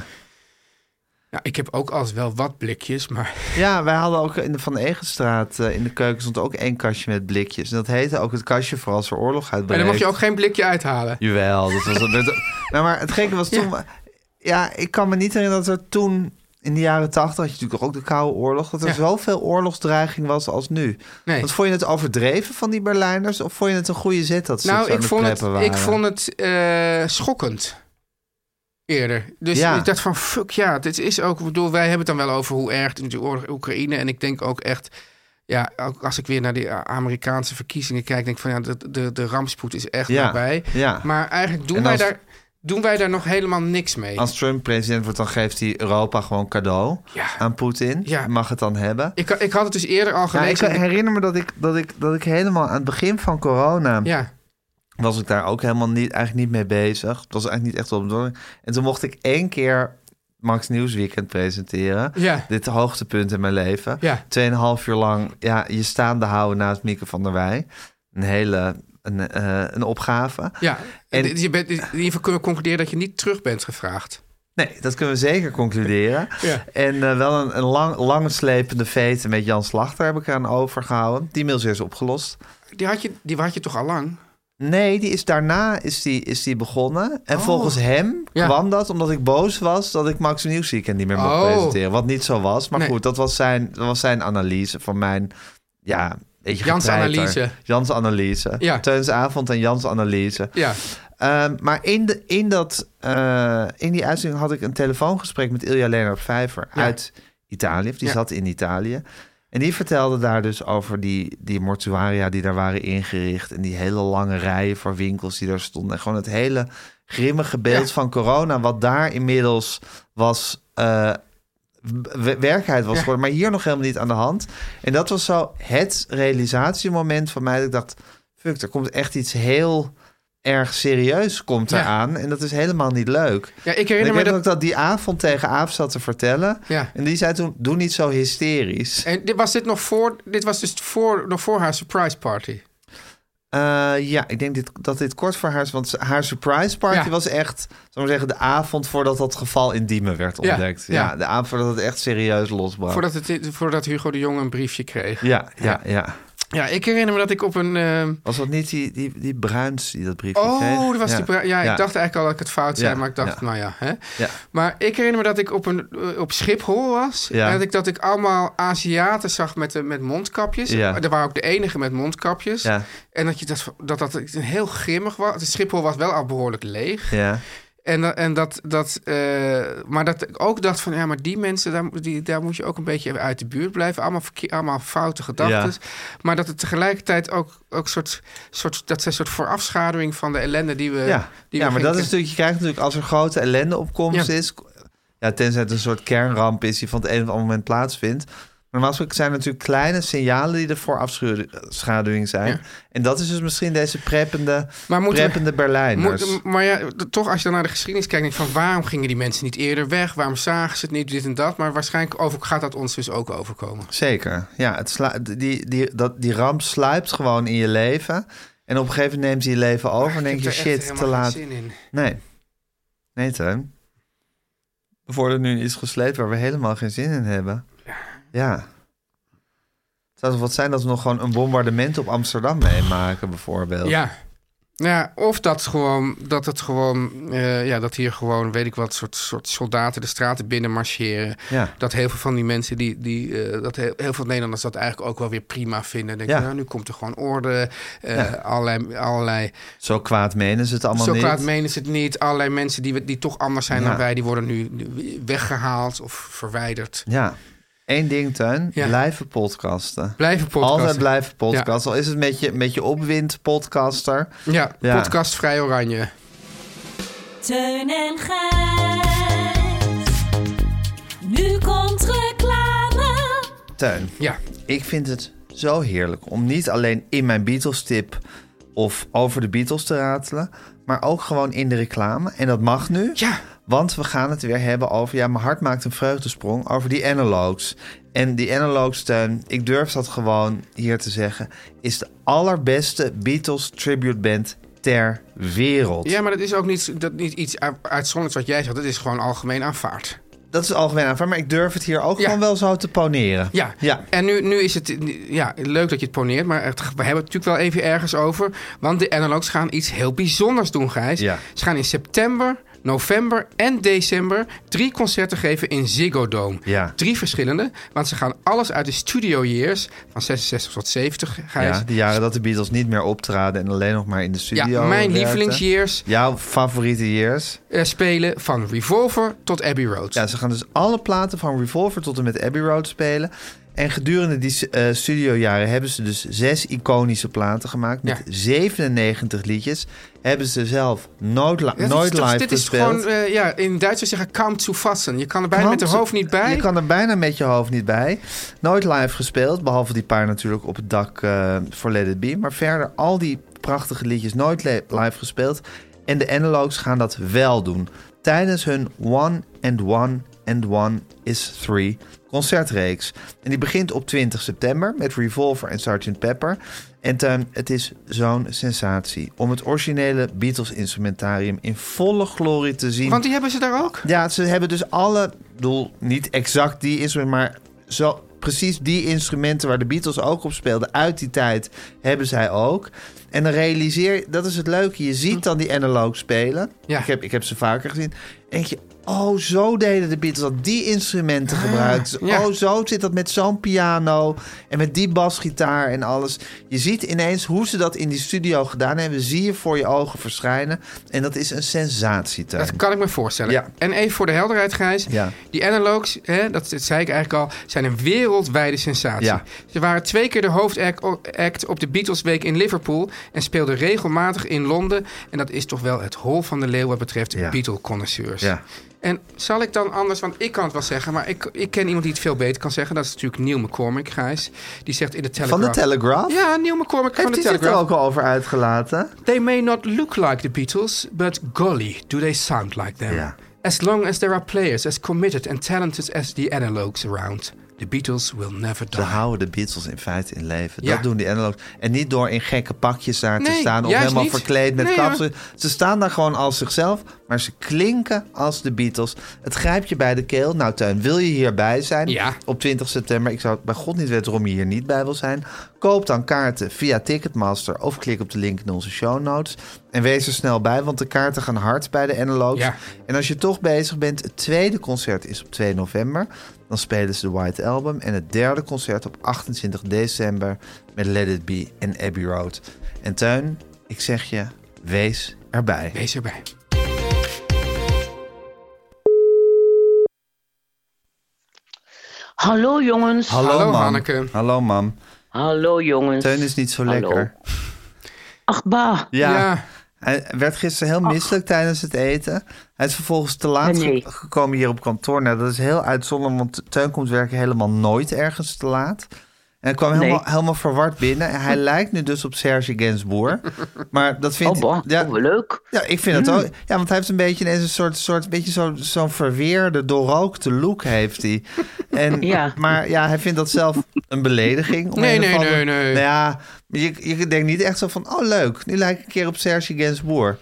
Ja, ik heb ook altijd wel wat blikjes, maar Ja, wij hadden ook in de Van Egenstraat eh, in de keuken stond ook één kastje met blikjes. En dat heette ook het kastje voor als er oorlog uitbreekt. en dan mocht je ook geen blikje uithalen. Jawel, dat was... dat, nou, maar het gekke was toen... Ja. ik kan me niet herinneren dat er toen... In de jaren tachtig had je natuurlijk ook de Koude Oorlog... dat er Ja. zoveel oorlogsdreiging was als nu. Nee. Want vond je het overdreven van die Berlijners... of vond je het een goede zet dat ze Nou, zo aan ik de vond het, kleppen waren? ik vond het eh, schokkend. Eerder. Dus Ja. ik dacht van, fuck ja, dit is ook... Ik bedoel, wij hebben het dan wel over hoe erg het in de oorlog in Oekraïne... en ik denk ook echt... Ja, ook als ik weer naar die eh, Amerikaanse verkiezingen kijk... denk ik van, ja, de, de, de rampspoed is echt Ja. nabij. Ja, Maar eigenlijk doen, En als- wij daar, doen wij daar nog helemaal niks mee. als Trump president wordt... dan geeft hij Europa gewoon cadeau Ja. aan Poetin. Ja. Mag het dan hebben. Ik, ik had het dus eerder al Ja, ik gelezen. herinner me dat ik, dat, ik, dat ik helemaal aan het begin van corona... ja. was ik daar ook helemaal niet, eigenlijk niet mee bezig. Het was eigenlijk niet echt op door. En toen mocht ik één keer Max Nieuwsweekend presenteren. Ja. Dit hoogtepunt in mijn leven. Ja. Tweeënhalf uur lang ja, je staande houden naast Mieke van der Wij. Een hele een, eh, een opgave. Ja, En- en je bent, in ieder geval kunnen we concluderen dat je niet terug bent gevraagd. Nee, dat kunnen we zeker concluderen. Ja. En eh, wel een, een lang, lange slepende vete met Jan Slachter heb ik eraan overgehouden. Die mail is eerst opgelost. Die had je, die had je toch al lang? Nee, die is daarna is die, is die begonnen. En volgens hem Oh. Ja. kwam dat omdat ik boos was dat ik Max Nieuwsweekend niet meer mocht Oh. presenteren. Wat niet zo was. Maar Nee. goed, dat was, zijn, dat was zijn analyse van mijn... Ja, weet je, Jans getreiter. analyse. Jans analyse. Ja. Teuns avond en Jans analyse. Ja. Ehm, maar in, de, in, dat, eh, in die uitzending had ik een telefoongesprek met Ilja Lennart Vijver Ja. uit Italië. of Die Ja. zat in Italië. En die vertelde daar dus over die, die mortuaria die daar waren ingericht. En die hele lange rijen voor winkels die daar stonden. En gewoon het hele grimmige beeld Ja. van corona, wat daar inmiddels was. eh, w- werkelijkheid was Ja. geworden, maar hier nog helemaal niet aan de hand. En dat was zo het realisatiemoment van mij. Dat ik dacht, fuck, er komt echt iets heel erg serieus komt Ja. eraan. En dat is helemaal niet leuk. Ja, ik En ik herinner me weet dat... ook dat die avond tegen Aaf zat te vertellen. Ja. En die zei toen, doe niet zo hysterisch. En dit was dit nog voor... Dit was dus voor, nog voor haar surprise party. Eh, ja, ik denk dit, dat dit kort voor haar is. Want ze- haar surprise party Ja. was echt, zullen we maar zeggen, de avond voordat dat geval in Diemen werd Ja, ontdekt. Ja, ja. de avond voordat het echt serieus losbrak. Voordat, het, voordat Hugo de Jong een briefje kreeg. Ja, ja, ja. Ja, ik herinner me dat ik op een... eh, Was dat niet die, die, die Bruins die dat briefje kreeg? Oh, dat was ja. die bra- Ja, ik dacht eigenlijk al dat ik het fout zei, Ja, maar ik dacht, ja. nou ja. Hè? Ja. Maar ik herinner me dat ik op, een, eh, op Schiphol was. Ja. En dat ik, dat ik allemaal Aziaten zag met, eh, met mondkapjes. Ja. Er waren ook de enige met mondkapjes. Ja, En dat, je dat, dat dat heel grimmig was. Het Schiphol was wel al behoorlijk leeg. ja. En, dat- en dat, dat, eh, maar dat ik ook dacht van, ja, maar die mensen, daar, die, daar moet je ook een beetje uit de buurt blijven. Allemaal, verkeer, allemaal foute gedachten. Maar dat het tegelijkertijd ook, ook soort, soort, dat zijn soort voorafschaduwing van de ellende die we... ja. Eh, die ja we maar dat is gingen- natuurlijk, je krijgt natuurlijk als er grote ellende opkomst Ja. is, ja, tenzij het een soort kernramp is die van het een of ander moment plaatsvindt. Maar normaal gesproken zijn er natuurlijk kleine signalen die er voor afschaduwing zijn. Ja. En dat is dus misschien deze preppende, Maar moeten we- preppende Berlijners. Moet- maar ja, d- toch als je dan naar de geschiedenis kijkt, denk je van waarom gingen die mensen niet eerder weg? Waarom zagen ze het niet, dit en dat? Maar waarschijnlijk over, gaat dat ons dus ook overkomen. Zeker. Ja, het sla- die, die, dat, die ramp sluipt gewoon in je leven. En op een gegeven moment neemt ze je leven over en denk Ik je heb er echt shit, te helemaal geen laat. zin in. Nee. Nee, Teun. We worden nu in iets gesleept waar we helemaal geen zin in hebben. Ja. Het zou toch wat zijn dat we nog gewoon een bombardement op Amsterdam meemaken, bijvoorbeeld. Ja. Ja, of dat, gewoon, dat het gewoon, eh, ja, dat hier gewoon, weet ik wat, soort, soort soldaten de straten binnen marcheren. Ja. Dat heel veel van die mensen, die, die, eh, dat heel, heel veel Nederlanders dat eigenlijk ook wel weer prima vinden. Denk Ja. nou, nu komt er gewoon orde, eh, Ja. allerlei, allerlei Zo kwaad menen ze het allemaal Zo niet. kwaad menen ze het niet. Allerlei mensen die, we- die toch anders zijn Ja. dan wij, die worden nu nu weggehaald of verwijderd. Ja. Eén ding, Teun. Ja. Blijven podcasten. Blijven podcasten. Altijd blijven podcasten. Al is het met je, met je opwind podcaster. Ja, Ja. podcast Vrij Oranje. Teun en Gijs. Nu komt reclame. Teun. Ja, Ik vind het zo heerlijk om niet alleen in mijn Beatles-tip of over de Beatles te ratelen, maar ook gewoon in de reclame. En dat mag nu. Ja. Want we gaan het weer hebben over, ja, mijn hart maakt een vreugdesprong over die analogs. En die analogs, Teun, ik durf dat gewoon hier te zeggen, is de allerbeste Beatles tribute band ter wereld. ja maar dat is ook niet, dat, niet iets uit- uitzonderlijks wat jij zegt. Dat is gewoon algemeen aanvaard. Dat is algemeen aanvaard, maar ik durf het hier ook Ja. gewoon wel zo te poneren. Ja, Ja. en nu, nu is het ja, leuk dat je het poneert, maar het- we hebben het natuurlijk wel even ergens over. Want de analogs gaan iets heel bijzonders doen, Gijs. Ja. Ze gaan in september, november en december drie concerten geven in Ziggo Dome. Ja. Drie verschillende, want ze gaan alles uit de studio years van 66 tot 70, Gijs. Ja, de jaren dat de Beatles niet meer optraden en alleen nog maar in de Ja, studio. mijn werkten. lievelingsyears Jouw favoriete years. eh, spelen van Revolver tot Abbey Road. Ja, ze gaan dus alle platen van Revolver tot en met Abbey Road spelen. En gedurende die eh studiojaren hebben ze dus zes iconische platen gemaakt. Met Ja. 97 liedjes. Hebben ze zelf nooit, li- Ja, dit nooit is toch- live Dit is gespeeld. gewoon, eh, ja, in Duitsers zeggen kaum zu fassen. Je kan er bijna met Want de hoofd niet bij. Je kan er bijna met je hoofd niet bij. Nooit live gespeeld, behalve die paar natuurlijk op het dak eh, voor Let It Be. Maar verder al die prachtige liedjes nooit le- live gespeeld. En de analogs gaan dat wel doen. Tijdens hun One and One and One is Three concertreeks. En die begint op 20 september met Revolver en Sgt. Pepper. En Tuin, het is zo'n sensatie om het originele Beatles-instrumentarium in volle glorie te zien. Want die hebben ze daar ook. Ja, ze hebben dus alle, ik bedoel, niet exact die instrumenten, maar zo, precies die instrumenten waar de Beatles ook op speelden uit die tijd, hebben zij ook. En dan realiseer je, dat is het leuke, je ziet dan die analoog spelen. Ja. Ik, heb, ik heb ze vaker gezien. En denk je, oh, zo deden de Beatles dat, die instrumenten gebruikt. Ah, ja. Oh, zo zit dat met zo'n piano en met die basgitaar en alles. Je ziet ineens hoe ze dat in die studio gedaan hebben, zie je voor je ogen verschijnen. En dat is een sensatie, Teun. Dat kan ik me voorstellen. Ja. En even voor de helderheid, Gijs. Ja. Die analogs, hè, dat, dat zei ik eigenlijk al, zijn een wereldwijde sensatie. Ja. Ze waren twee keer de hoofdact o- act op de Beatles Week in Liverpool... en speelden regelmatig in Londen. En dat is toch wel het hol van de leeuw wat betreft Ja. Beatle-connoisseurs. Ja. En zal ik dan anders, want ik kan het wel zeggen... maar ik, ik ken iemand die het veel beter kan zeggen. Dat is natuurlijk Neil McCormick, Gijs. Die zegt in de Telegraph... Van de Telegraph? Ja, Neil McCormick van Heeft de hij zich er Telegraph. ook al over uitgelaten? They may not look like the Beatles, but golly, do they sound like them. Ja. As long as there are players as committed and talented as the analogues around, the Beatles will never Ze die. houden de Beatles in feite in leven. Ja. Dat doen die analogs. En niet door in gekke pakjes daar te Nee, staan... of juist helemaal niet. verkleed met Nee, kapsels. Ze staan daar gewoon als zichzelf, maar ze klinken als de Beatles. Het grijpt je bij de keel. Nou, Tuin, wil je hierbij zijn? Ja. Op 20 september. Ik zou bij God niet weten waarom je hier niet bij wil zijn. Koop dan kaarten via Ticketmaster of klik op de link in onze show notes. En wees er snel bij, want de kaarten gaan hard bij de Analogues. Ja. En als je toch bezig bent, het tweede concert is op 2 november. Dan spelen ze de White Album. En het derde concert op 28 december met Let It Be en Abbey Road. En Tuin, ik zeg je, wees erbij. Wees erbij. Hallo jongens. Hallo, mam. Hanneke. Hallo mam. Hallo jongens. Teun is niet zo Hallo. lekker. Ach bah. Ja. Ja. Hij werd gisteren heel misselijk tijdens het eten. Hij is vervolgens te laat Nee. ge- gekomen hier op kantoor. Nou, dat is heel uitzonderlijk, want Teun komt werken helemaal nooit ergens te laat. En hij kwam helemaal, Nee. helemaal verward binnen. En hij lijkt nu dus op Serge Gainsbourg. Maar dat vind Oh bah. ja, Oh, leuk. ja, ik vind dat ook. Ja, want hij heeft een beetje ineens een soort, soort beetje zo, zo'n verweerde, doorrookte look heeft hij. En, Ja. Maar ja, hij vindt dat zelf een belediging. om Nee, een of nee, andere- nee, nee. Nou ja, je, je denkt niet echt zo van, oh leuk, nu lijk ik een keer op Serge Gainsbourg.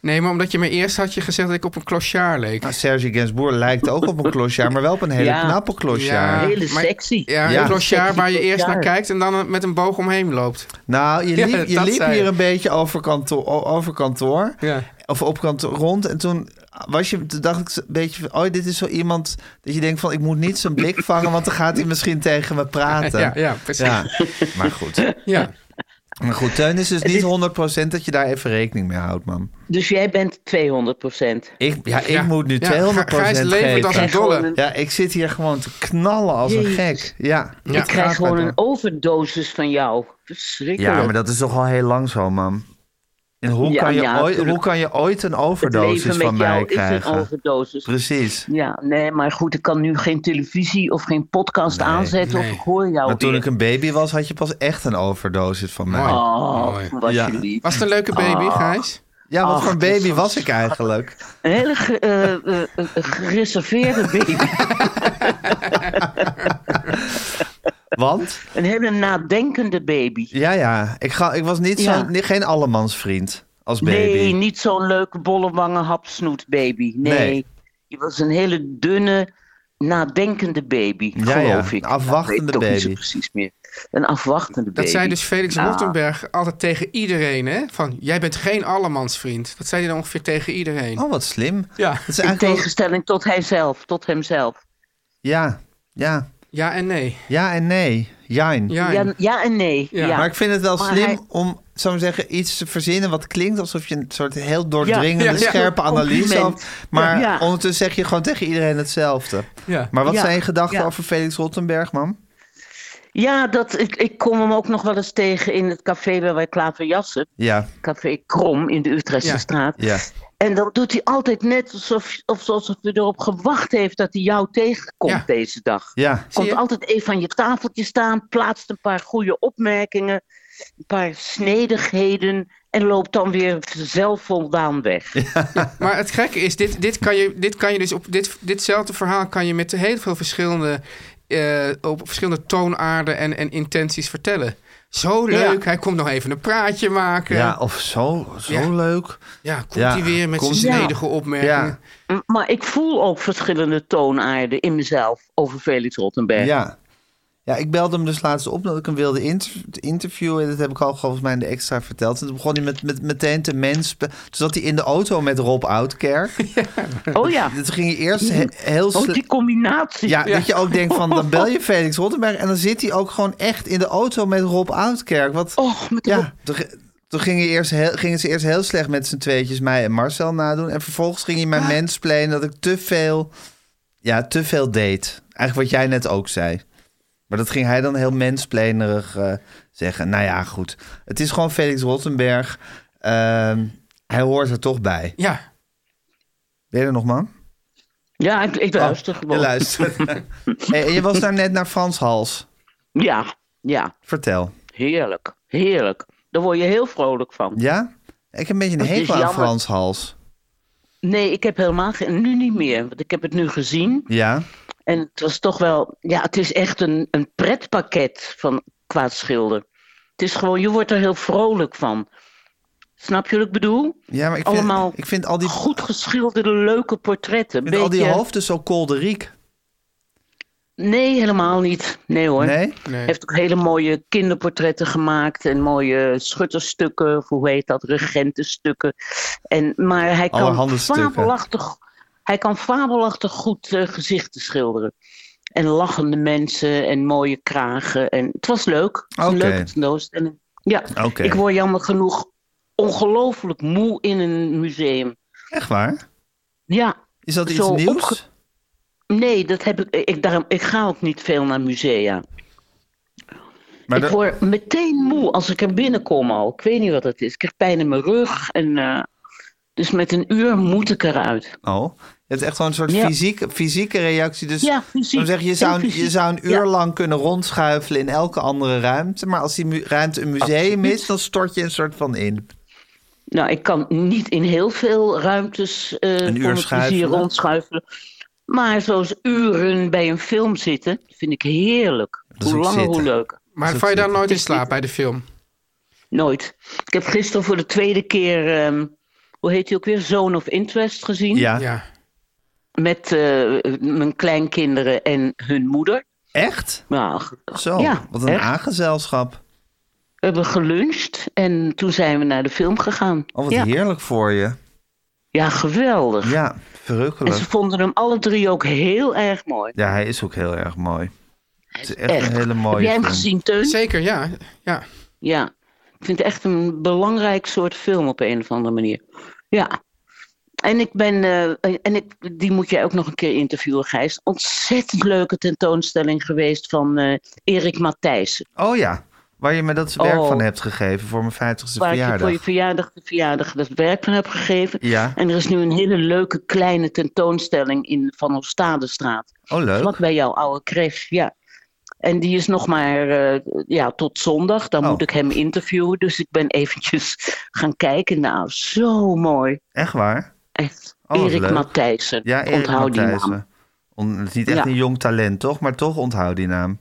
Nee, maar omdat je me eerst had je gezegd dat ik op een clochard leek. Nou, Serge Gainsbourg lijkt ook op een klosjaar, maar wel op een hele Ja. knappe klosjaar. Ja. Hele maar- sexy. Ja, Ja. een clochard waar je Sexy eerst naar clochard. kijkt en dan een- met een boog omheen loopt. Nou, je Ja, liep, je dat liep zei hier je. een beetje over kantoor, o- over kantoor Ja. of op kantoor rond. En toen, was je, toen dacht ik zo- een beetje van, oh, dit is zo iemand dat je denkt van, ik moet niet zijn blik vangen, want dan gaat hij misschien tegen me praten. Ja, ja, precies. Ja. maar goed. Ja. Maar goed, Teun is dus niet 100% dat je daar even rekening mee houdt, man. Dus jij bent 200 Ik, ja, ik Ja. moet nu Ja, 200% Gijs levert als geven. een dolle. een- Ja, ik zit hier gewoon te knallen als een Jezus. gek. Ja. Ja, ik krijg gaat gewoon met een me. overdosis van jou. Verschrikkelijk. Ja, maar dat is toch al heel lang zo, man. En hoe, Ja, kan, je ja, ooit, hoe tuurlijk. kan je ooit een Het overdosis leven met van mij jou is een krijgen? overdosis. Precies. Ja, nee, maar goed, ik kan nu geen televisie of geen podcast Nee, aanzetten nee. of ik hoor jou Maar toen weer. ik een baby was, had je pas echt een overdosis van mij. Mooi. Mooi. Oh, wat Ja. je lief. Was het een leuke baby, Oh, Gijs? Ja, wat Ach, voor een het is baby zo was ik eigenlijk? Een hele ge- eh, eh, eh, gereserveerde baby. Want, een hele nadenkende baby. ja, ja, ik, ga, ik was niet Ja. zo'n, nee, geen allemansvriend als baby. Nee, niet zo'n leuke bollewangen hapsnoet baby. Nee. Nee. Je was een hele dunne, nadenkende baby, Ja, geloof ja, ik. een afwachtende ik weet het ook niet zo baby. precies meer. Een afwachtende baby. Dat zei dus Felix Nou, Rottenberg altijd tegen iedereen, hè? Van, jij bent geen allemansvriend. Dat zei hij dan ongeveer tegen iedereen. Oh, wat slim. Ja. Dat is In eigenlijk wel- tegenstelling tot hijzelf, tot hemzelf. Ja, ja, Ja en nee. ja en nee. Jijn. Ja, en- Ja, ja en nee. Ja. Ja. Maar ik vind het wel Maar slim hij- om, zou ik zeggen, iets te verzinnen wat klinkt alsof je een soort heel doordringende, Ja, ja, ja. scherpe analyse Compliment. had. Maar Ja. ondertussen zeg je gewoon tegen iedereen hetzelfde. Ja. Maar wat Ja, zijn je gedachten ja. over Felix Rottenberg, man? Ja, dat, ik, ik kom hem ook nog wel eens tegen in het café waar wij klaverjassen. Ja, Café Krom in de Utrechtse Ja. straat. ja. En dan doet hij altijd net alsof, of- alsof hij erop gewacht heeft dat hij jou tegenkomt Ja. deze dag. Ja, Zie Komt je? altijd even aan je tafeltje staan, plaatst een paar goede opmerkingen, een paar snedigheden en loopt dan weer zelfvoldaan weg. Maar het gekke is, dit, dit, kan, je, dit kan je dus op dit, ditzelfde verhaal kan je met heel veel verschillende, eh, op verschillende toonaarden en, en intenties vertellen. Zo leuk, hij komt nog even een praatje maken. ja of zo, zo Ja. leuk. Ja, komt Ja, hij weer met zijn komt- snedige Ja, opmerkingen. M- Maar ik voel ook verschillende toonaarden in mezelf over Felix Rottenberg. ja. Ja, ik belde hem dus laatst op dat ik hem wilde inter- interviewen. Dat heb ik al volgens mij in de extra verteld. En toen begon hij met, met, meteen te menspen. Toen zat hij in de auto met Rob Oudkerk. Oh ja, Toen ging hij eerst he- heel oh, slecht... die combinatie. Ja, dat je ook denkt van, dan bel je Felix Rottenberg... en dan zit hij ook gewoon echt in de auto met Rob Oudkerk. Wat, Och, met Rob- ja, toen, ge- toen gingen, eerst heel, gingen ze eerst heel slecht met z'n tweetjes mij en Marcel nadoen... en vervolgens ging hij mij mensplayen dat ik te veel, ja, te veel deed. Eigenlijk wat jij net ook zei. Maar dat ging hij dan heel mensplanerig eh, zeggen. Nou ja, goed. Het is gewoon Felix Rottenberg. Ehm, hij hoort er toch bij. Ja. Ben je er nog, man? ja ik, ik luister Je gewoon. luistert. Hey, en je was daar net naar Frans Hals. Ja, ja, Vertel. heerlijk, heerlijk. Daar word je heel vrolijk van. Ja? Ik heb een beetje een Het is hekel aan jammer. Frans Hals. Nee, ik heb helemaal geen, nu niet meer, want ik heb het nu gezien. Ja? En het was toch wel, ja, het is echt een, een pretpakket van qua schilder. Het is gewoon, je wordt er heel vrolijk van. Snap je wat ik bedoel? Ja, maar ik vind, Allemaal ik vind al die, Goed geschilderde, leuke portretten. ik vind al die Beetje- hoofden zo kolderiek. Nee, helemaal niet. Nee hoor. Nee? Nee. Hij heeft ook hele mooie kinderportretten gemaakt en mooie schutterstukken, of hoe heet dat, regentenstukken. En, maar hij kan, Allerhande stukken. fabelachtig, hij kan fabelachtig goed eh, gezichten schilderen. En lachende mensen en mooie kragen. En het was leuk. Het was Een Oké. leuke tentoonstelling. Ja, Oké. ik word jammer genoeg ongelooflijk moe in een museum. Echt waar? Ja, Is dat iets Zo nieuws? opge- nee, dat heb ik. Ik, daarom, ik ga ook niet veel naar musea. Maar ik dat- word meteen moe als ik er binnenkom al. Ik weet niet wat het is. Ik krijg pijn in mijn rug. En, eh, dus met een uur moet ik eruit. Oh, het is echt gewoon een soort Ja. fysiek, fysieke reactie. Dus Ja, fysiek. dan zeg je, je Heel zou, een- je fysiek. zou een uur Ja. lang kunnen rondschuifelen in elke andere ruimte. Maar als die mu- ruimte een museum Absoluut. is, dan stort je een soort van in. Nou, ik kan niet in heel veel ruimtes eh voor uur mijn plezier schuifelen. rondschuifelen. Maar zoals uren bij een film zitten, vind ik heerlijk. is Hoe ook langer, hoe zitten. leuker. Maar val je daar nooit in slaap bij de film? Nooit. Ik heb gisteren voor de tweede keer, ehm, hoe heet hij ook weer? Zone of Interest gezien. Ja. Ja. Met eh, mijn kleinkinderen en hun moeder. Echt? Nou, Zo, ja, wat een echt. aangezelschap. We hebben geluncht en toen zijn we naar de film gegaan. Oh, wat ja. heerlijk voor je. Ja, geweldig. Ja, en verrukkelijk. ze vonden hem alle drie ook heel erg mooi. Ja, hij is ook heel erg mooi. Het is echt, Echt. een hele Heb mooie jij hem film. gezien, Teun? Zeker, ja. ja. Ja. Ik vind het echt een belangrijk soort film op een of andere manier. Ja. En ik ben, eh, en ik, die moet jij ook nog een keer interviewen, Gijs. Ontzettend leuke tentoonstelling geweest van eh, Erik Matthijssen. Oh ja, waar je me dat werk Oh. van hebt gegeven voor mijn 50ste Waar ik je voor verjaardag. je verjaardag de verjaardag dat werk van heb gegeven. Ja. En er is nu een hele leuke kleine tentoonstelling in Van Oostadestraat. Oh, leuk. Vlak bij jouw oude crash, ja. En die is nog maar eh, ja, tot zondag. Dan Oh. moet ik hem interviewen. Dus ik ben eventjes gaan kijken. Nou, zo mooi. Echt waar? Echt. Oh, wat Erik leuk. Matthijssen. Ja, Erik Onthoud die naam. Matthijssen. On- het is niet echt Ja. een jong talent, toch? Maar toch onthoud die naam.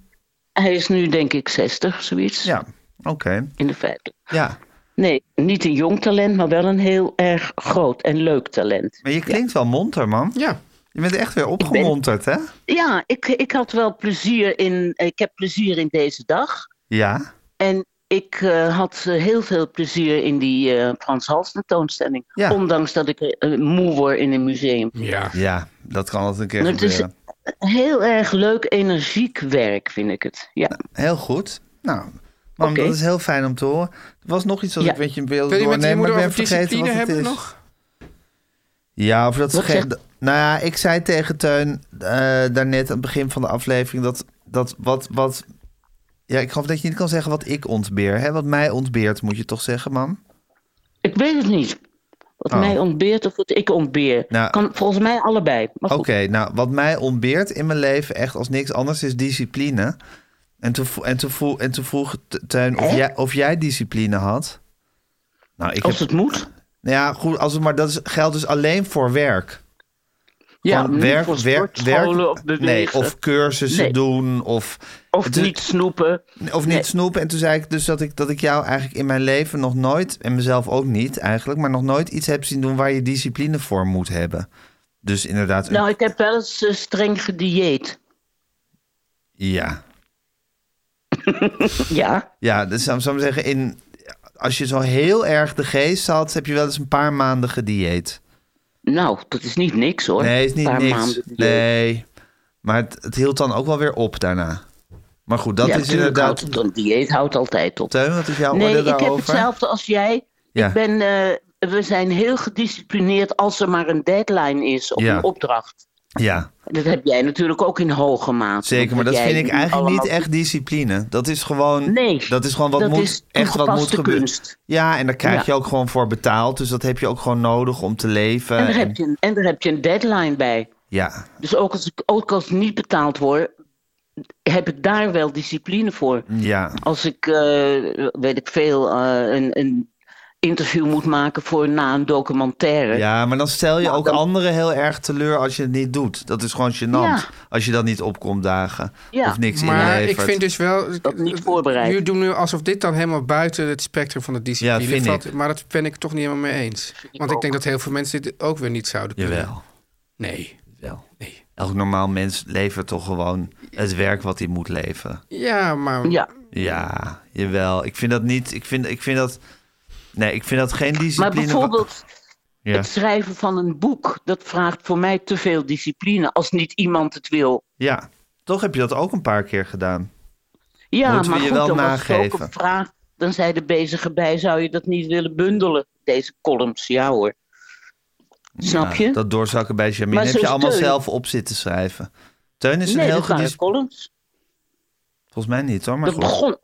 Hij is nu denk ik 60, zoiets. Ja, oké. In de vijfde. Ja, Nee, niet een jong talent, maar wel een heel erg groot en leuk talent. maar je klinkt wel monter, man. Ja. Je bent echt weer opgemonterd, hè? Ja, ik, ik had wel plezier in. Ik heb plezier in deze dag. Ja, En ik eh, had eh, heel veel plezier in die eh Frans Hals tentoonstelling. Ja. Ondanks dat ik eh, moe word in een museum. Ja. ja, dat kan altijd een keer Het is gebeuren. heel erg leuk, energiek werk, vind ik het. Ja. Heel goed. Nou, mam, Oké. dat is heel fijn om te horen. Er was nog iets wat Ja. ik met je wilde Wil je met je doornemen, maar moeder ik ben over vergeten discipline wat het hebben is. nog? Ja, of dat ze Wat geen- zegt- d- Nou ja, ik zei tegen Teun eh, daarnet aan het begin van de aflevering dat, dat wat, wat. Ja, ik geloof dat je niet kan zeggen wat ik ontbeer. Hè? Wat mij ontbeert, moet je toch zeggen, mam? Ik weet het niet. Wat Oh. mij ontbeert of wat ik ontbeer. Nou. kan volgens mij allebei. Maar Oké, goed. nou, wat mij ontbeert in mijn leven echt als niks anders is discipline. En toen, vo- en toen, vo- en toen vroeg T- Teun of jij, of jij discipline had. Nou, ik Als heb, het moet. nou ja, goed, als het, maar dat is, geldt dus alleen voor werk. Ja, Gewoon niet werk, voor werk, sportscholen werk. of nee, bewegen. of cursussen Nee. doen of. Of het is- niet snoepen. Of niet Nee. snoepen. En toen zei ik dus dat ik, dat ik jou eigenlijk in mijn leven nog nooit, en mezelf ook niet eigenlijk, maar nog nooit iets heb zien doen waar je discipline voor moet hebben. Dus inderdaad, een- Nou, ik heb wel eens eh, streng gedieet. ja. Ja, Ja, dus zou zou ik zeggen, in, als je zo heel erg de geest had, heb je wel eens een paar maanden gedieet. nou, dat is niet niks hoor. Nee, is Een niet paar niks. maanden dieet. Nee. Maar het, het hield dan ook wel weer op daarna. Maar goed, dat ja, is tuurlijk houdt inderdaad. het- Een dieet houdt altijd op. Teun, wat is jouw Nee, oordeel ik daarover? heb hetzelfde als jij. Ja. Ik ben, eh, we zijn heel gedisciplineerd als er maar een deadline is of Ja. een opdracht. Ja. Dat heb jij natuurlijk ook in hoge mate. Zeker, maar want dat jij vind ik nu eigenlijk niet allemaal- echt discipline. Dat is gewoon, Nee, dat is gewoon wat dat moet, is echt wat moet toegepaste gebeuren. kunst. Ja, en daar krijg je Ja. ook gewoon voor betaald. Dus dat heb je ook gewoon nodig om te leven. En daar, En- heb je een, en daar heb je een deadline bij. Ja, Dus ook als, ik, ook als ik niet betaald word, heb ik daar wel discipline Mm. voor. ja, Als ik, eh, weet ik veel, eh, een, een interview moet maken voor na een documentaire. ja, maar dan stel je Nou, ook dan- anderen heel erg teleur als je het niet doet. Dat is gewoon gênant Ja. als je dan niet opkomt dagen Ja. of niks Maar inlevert. ik vind dus wel... Dat niet voorbereid. Nu doen we alsof dit dan helemaal buiten het spectrum van de discipline Ja, vind valt. ik. Maar dat ben ik toch niet helemaal mee eens. Want ik denk dat heel veel mensen dit ook weer niet zouden kunnen. Jawel, Nee. wel. nee. Elk normaal mens levert toch gewoon het werk wat hij moet leven. Ja, maar... Ja, Ja, jawel. Ik vind dat niet. Ik vind, ik vind dat. Nee, ik vind dat geen maar discipline. bijvoorbeeld Ja, het schrijven van een boek, dat vraagt voor mij te veel discipline als niet iemand het wil. ja, toch heb je dat ook een paar keer gedaan. Ja, Moeten we maar je goed, wel dan was het ook nageven? een vraag. Dan zei de bezige bij, zou je dat niet willen bundelen, deze columns? Ja hoor. Snap je? Ja, dat doorzakken bij Jamin Maar heb zo je is allemaal Teun. zelf op zitten schrijven. Teun is een nee, heel dat waren gedis... columns. Volgens mij niet hoor, maar Dat goed. begon,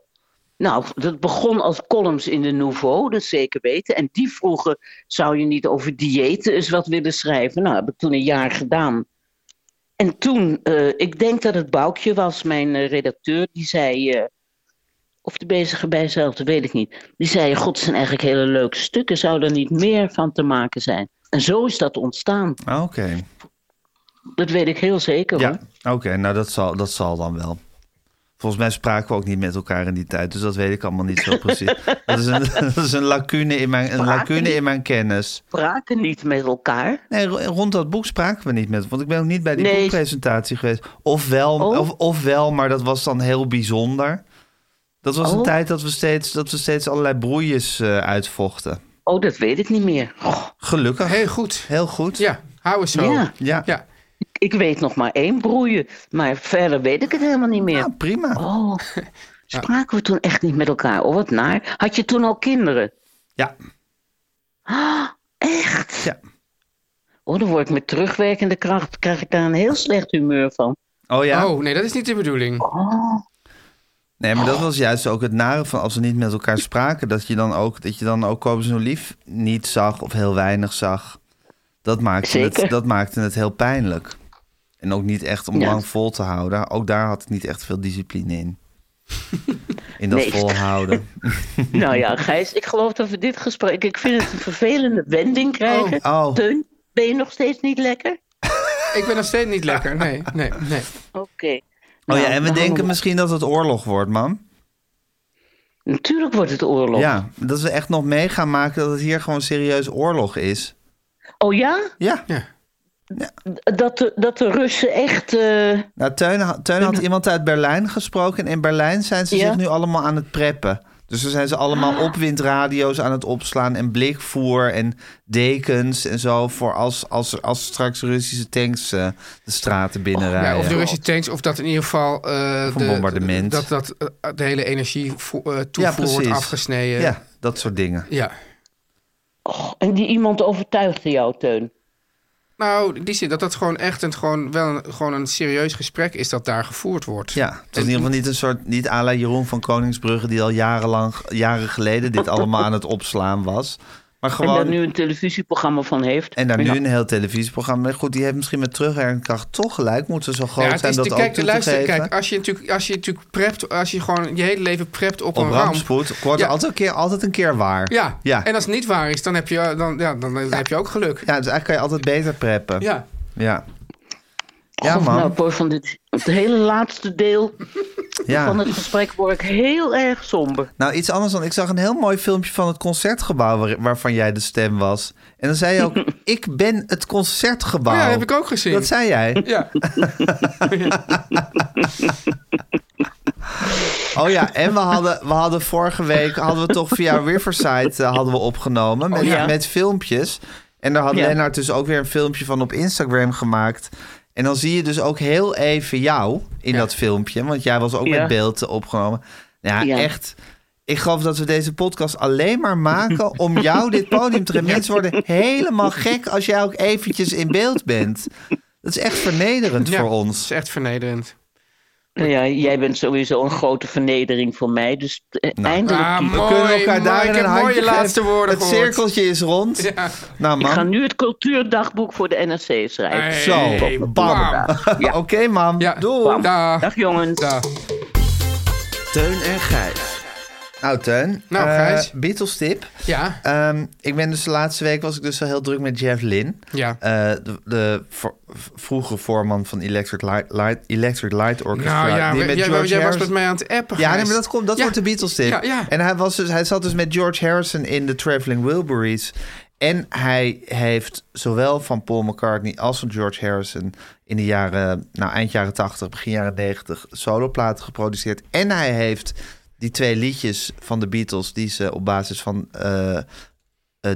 nou, dat begon als columns in de Nouveau, dat zeker weten. En die vroegen, zou je niet over diëten eens wat willen schrijven? Nou, heb ik toen een jaar gedaan. En toen, eh, ik denk dat het Boukje was, mijn eh, redacteur, die zei... eh, of de bezige bij zelf, dat weet ik niet. Die zei, god, het zijn eigenlijk hele leuke stukken. Zou er niet meer van te maken zijn? En zo is dat ontstaan. Ah, Oké, Dat weet ik heel zeker. ja. hoor. Oké, nou dat zal, dat zal dan wel. Volgens mij spraken we ook niet met elkaar in die tijd, dus dat weet ik allemaal niet zo precies. dat, is een, dat is een lacune in mijn, een Spraken lacune niet. in mijn kennis. Spraken niet met elkaar. Nee, ro- rond dat boek spraken we niet met. Want ik ben ook niet bij die Nee. boekpresentatie geweest. Ofwel, Oh. of, ofwel, maar dat was dan heel bijzonder. Dat was een Oh. tijd dat we steeds, dat we steeds allerlei broeies eh, uitvochten. Oh, dat weet ik niet meer. Goh, Gelukkig. Heel goed. Heel goed. Ja, hou eens zo. Ja. Ja. ja. Ik weet nog maar één broeien, maar verder weet ik het helemaal niet meer. Ah, prima. Oh, spraken we toen echt niet met elkaar? Oh, wat naar. Had je toen al kinderen? Ja. Ah, echt? Ja. Oh, dan word ik met terugwerkende kracht, krijg ik daar een heel slecht humeur van. Oh ja. Oh, nee, dat is niet de bedoeling. Oh, Nee, maar dat was juist ook het nare van als we niet met elkaar spraken. Dat je dan ook, dat je dan ook Kobus en Lief niet zag of heel weinig zag. Dat maakte, het, Zeker. dat maakte het heel pijnlijk. En ook niet echt om Ja. lang vol te houden. Ook daar had ik niet echt veel discipline in. In dat Nee. volhouden. Oh nou ja, Gijs, ik geloof dat we dit gesprek... Ik vind het een vervelende wending krijgen. Oh, oh. Teun, ben je nog steeds niet lekker? Ik ben nog steeds niet lekker. Nee, nee, nee. Oké. Oh Nou, ja, en we hangen denken misschien dat het oorlog wordt, man. Natuurlijk wordt het oorlog. Ja, dat we echt nog mee gaan maken dat het hier gewoon serieus oorlog is. Oh ja? Ja, Ja. Dat de, dat de Russen echt... eh, nou, Teun, ha- Teun Mhm. had iemand uit Berlijn gesproken. En in Berlijn zijn ze Ja. zich nu allemaal aan het preppen. Dus er zijn ze Ah. allemaal opwindradio's aan het opslaan. En blikvoer en dekens en zo. Voor als, als, als straks Russische tanks eh, de straten binnenrijden. Ja, of de Russische tanks, of dat in ieder geval... eh, een bombardement. Dat, dat eh, de hele energie toevoer wordt precies. afgesneden. Ja, dat soort dingen. ja. Och, en die iemand overtuigde jou, Teun. Nou, in die zin dat dat gewoon echt een, gewoon wel een, gewoon een serieus gesprek is dat daar gevoerd wordt. Ja, het was in ieder geval niet een soort, niet à la Jeroen van Koningsbrugge... die al jarenlang, jaren geleden dit allemaal aan het opslaan was. Maar En daar gewoon, nu een televisieprogramma van heeft. en daar nu Ja. een heel televisieprogramma. Maar goed, die heeft misschien met terugwerkende kracht toch gelijk. Moeten ze zo groot Ja, het zijn is dat de- ook kijk, toe de te luister, geven. kijk, als je natuurlijk, als je natuurlijk prept, als je gewoon je hele leven prept op, Op een ramp. rampspoed wordt Ja. altijd, een keer, altijd een keer waar. Ja. ja. en als het niet waar is, dan heb je, dan, ja, dan, dan heb je ook geluk. Ja, dus eigenlijk kan je altijd beter preppen. Ja. Oh Ja, ja Och, man. Nou, ik word van dit, het hele laatste deel ja. van het gesprek word ik heel erg somber. Nou, iets anders dan. Ik zag een heel mooi filmpje van het concertgebouw waar- waarvan jij de stem was. En dan zei je ook: Ik ben het concertgebouw. Oh ja, heb ik ook gezien. Dat zei jij. Ja. Oh ja, en we hadden, we hadden vorige week hadden we toch via Riverside eh, hadden we opgenomen met, Oh ja. met filmpjes. En daar had Ja. Lennart dus ook weer een filmpje van op Instagram gemaakt. En dan zie je dus ook heel even jou in dat filmpje. Want jij was ook Ja. met beeld eh, opgenomen. Ja, Ja. echt. Ik geloof dat we deze podcast alleen maar maken om jou dit podium te geven. Mensen worden helemaal gek als jij ook eventjes in beeld bent. Dat is echt vernederend Ja, voor Dat is ons. echt vernederend. Nou ja, jij bent sowieso een grote vernedering voor mij. Dus eh, Nou. eindelijk. Ah, Pieter. We mooi, kunnen elkaar daar mooi. in een Ik heb handje mooie geven. laatste woorden Het gehoord. cirkeltje is rond. Ja. Nou ik man. ga nu het cultuurdagboek voor de NRC schrijven. Hey, Zo, bam. wauw. Oké, mam. Ja. Doei. Dag. Dag jongens. Dag. Teun en Gijs. Nou, Teun. Nou, eh, Gijs. Beatles tip. Ja. Ehm, ik ben dus de laatste week was ik dus al heel druk met Jeff Lynne. Ja. Eh, de de voor- v- vroegere voorman van Electric Light, Light- Electric Light Orchestra. Nou ja, die we- met jij, George jij was Harrison- met mij aan het appen. Ja, nee, Gijs. maar dat, komt, dat Ja. wordt de Beatles tip. Ja, ja. En hij, was dus, hij zat dus met George Harrison in de Traveling Wilburys. En hij heeft zowel van Paul McCartney als van George Harrison in de jaren, nou eind jaren 80, begin jaren 90 soloplaten geproduceerd. En hij heeft die twee liedjes van de Beatles die ze op basis van eh, eh,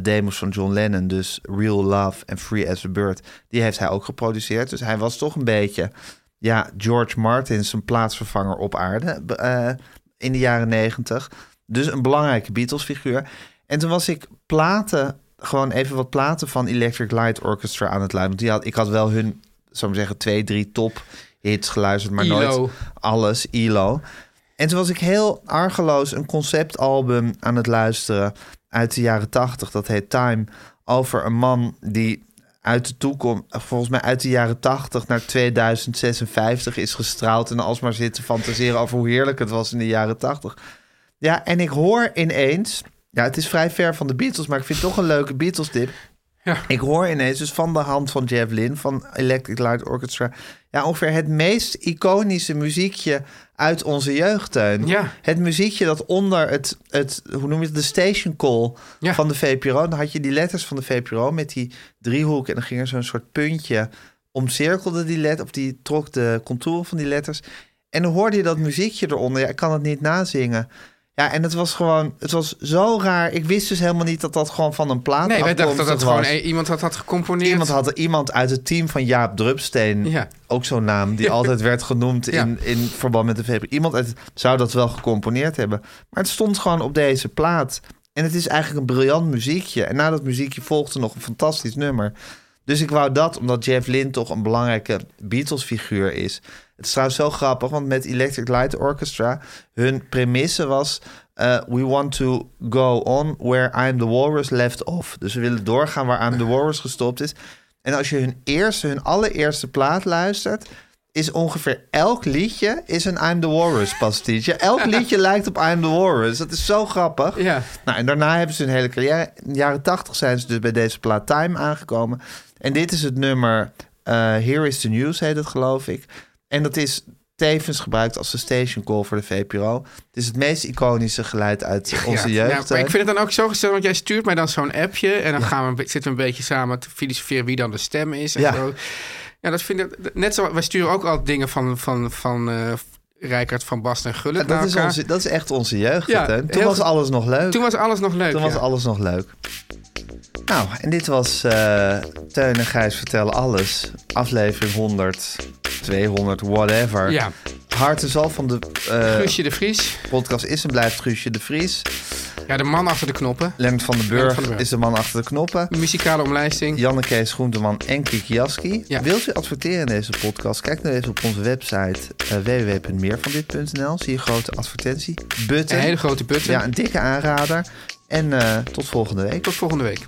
demos van John Lennon, dus Real Love en Free as a Bird, die heeft hij ook geproduceerd. Dus hij was toch een beetje, ja, George Martin, zijn plaatsvervanger op aarde be- eh, in de jaren 90. Dus een belangrijke Beatles-figuur. En toen was ik platen, gewoon even wat platen van Electric Light Orchestra aan het luisteren. Want die had, ik had wel hun, zou ik maar zeggen, twee, drie top hits geluisterd, maar ELO. nooit alles, ILO. En toen was ik heel argeloos een conceptalbum aan het luisteren uit de jaren tachtig. Dat heet Time. Over een man die uit de toekomst, volgens mij uit de jaren tachtig naar 2056 is gestraald. En alsmaar zit te fantaseren over hoe heerlijk het was in de jaren tachtig. Ja, en ik hoor ineens. Ja, het is vrij ver van de Beatles, maar ik vind het toch een leuke Beatles-tip. Ja. Ik hoor ineens, dus van de hand van Jeff Lynne van Electric Light Orchestra... ja, ongeveer het meest iconische muziekje uit onze jeugdtuin. Ja. Het muziekje dat onder het, het hoe noem je het, de station call Ja. van de VPRO... dan had je die letters van de VPRO met die driehoek... en dan ging er zo'n soort puntje, omcirkelde die letter... of die trok de contouren van die letters... En dan hoorde je dat muziekje eronder. Ja, ik kan het niet nazingen. Ja, en het was gewoon, het was zo raar. Ik wist dus helemaal niet dat dat gewoon van een plaat Nee, wij dachten dat dat afkomstig gewoon was. eh, iemand had, had gecomponeerd. Iemand had er iemand uit het team van Jaap Drupsteen, Ja. ook zo'n naam die altijd werd genoemd Ja. in, in verband met de VP. Iemand uit, zou dat wel gecomponeerd hebben, maar het stond gewoon op deze plaat. En het is eigenlijk een briljant muziekje. En na dat muziekje volgde nog een fantastisch nummer. Dus ik wou dat, omdat Jeff Lynne toch een belangrijke Beatles-figuur is. Het is trouwens zo grappig, want met Electric Light Orchestra... hun premisse was... eh, we want to go on where I'm the Walrus left off. Dus we willen doorgaan waar I'm the Walrus gestopt is. En als je hun eerste, hun allereerste plaat luistert... is ongeveer elk liedje is een I'm the Walrus pastiche. Elk liedje lijkt op I'm the Walrus. Dat is zo grappig. Ja. Nou, en daarna hebben ze een hele carrière. In de jaren tachtig zijn ze dus bij deze plaat Time aangekomen. En dit is het nummer eh, Here is the News, heet het geloof ik. En dat is tevens gebruikt als de station call voor de VPRO. Het is het meest iconische geluid uit onze Ja, jeugd. maar ik vind het dan ook zo gezellig, want jij stuurt mij dan zo'n appje... en dan gaan we, een be- zitten we een beetje samen te filosoferen wie dan de stem is. En Ja. zo. ja dat vind ik... Net zo, wij sturen ook al dingen van, van, van eh Rijkaard van Basten en Gullit Ja, dat, naar is elkaar. onze, dat is echt onze jeugd. Ja, Teun. Toen heel was ge- alles nog leuk. Toen was alles nog leuk. Toen was ja. alles nog leuk. Nou, en dit was eh, Teun en Gijs vertellen alles. Aflevering 100, 200, whatever. Ja. Hart en zal van de eh, Guusje de Vries. podcast is en blijft Guusje de Vries. Ja, de man achter de knoppen. Lennart van den Lennart Burg van den Burg. is de man achter de knoppen. De muzikale omlijsting. Janneke Groenteman en Kiki Jaski. Ja. Wilt u adverteren in deze podcast? Kijk dan even op onze website eh, www.meervandit.nl. Zie je grote advertentie. Button. Een hele grote button. Ja, een dikke aanrader. En eh, tot volgende week. Tot volgende week.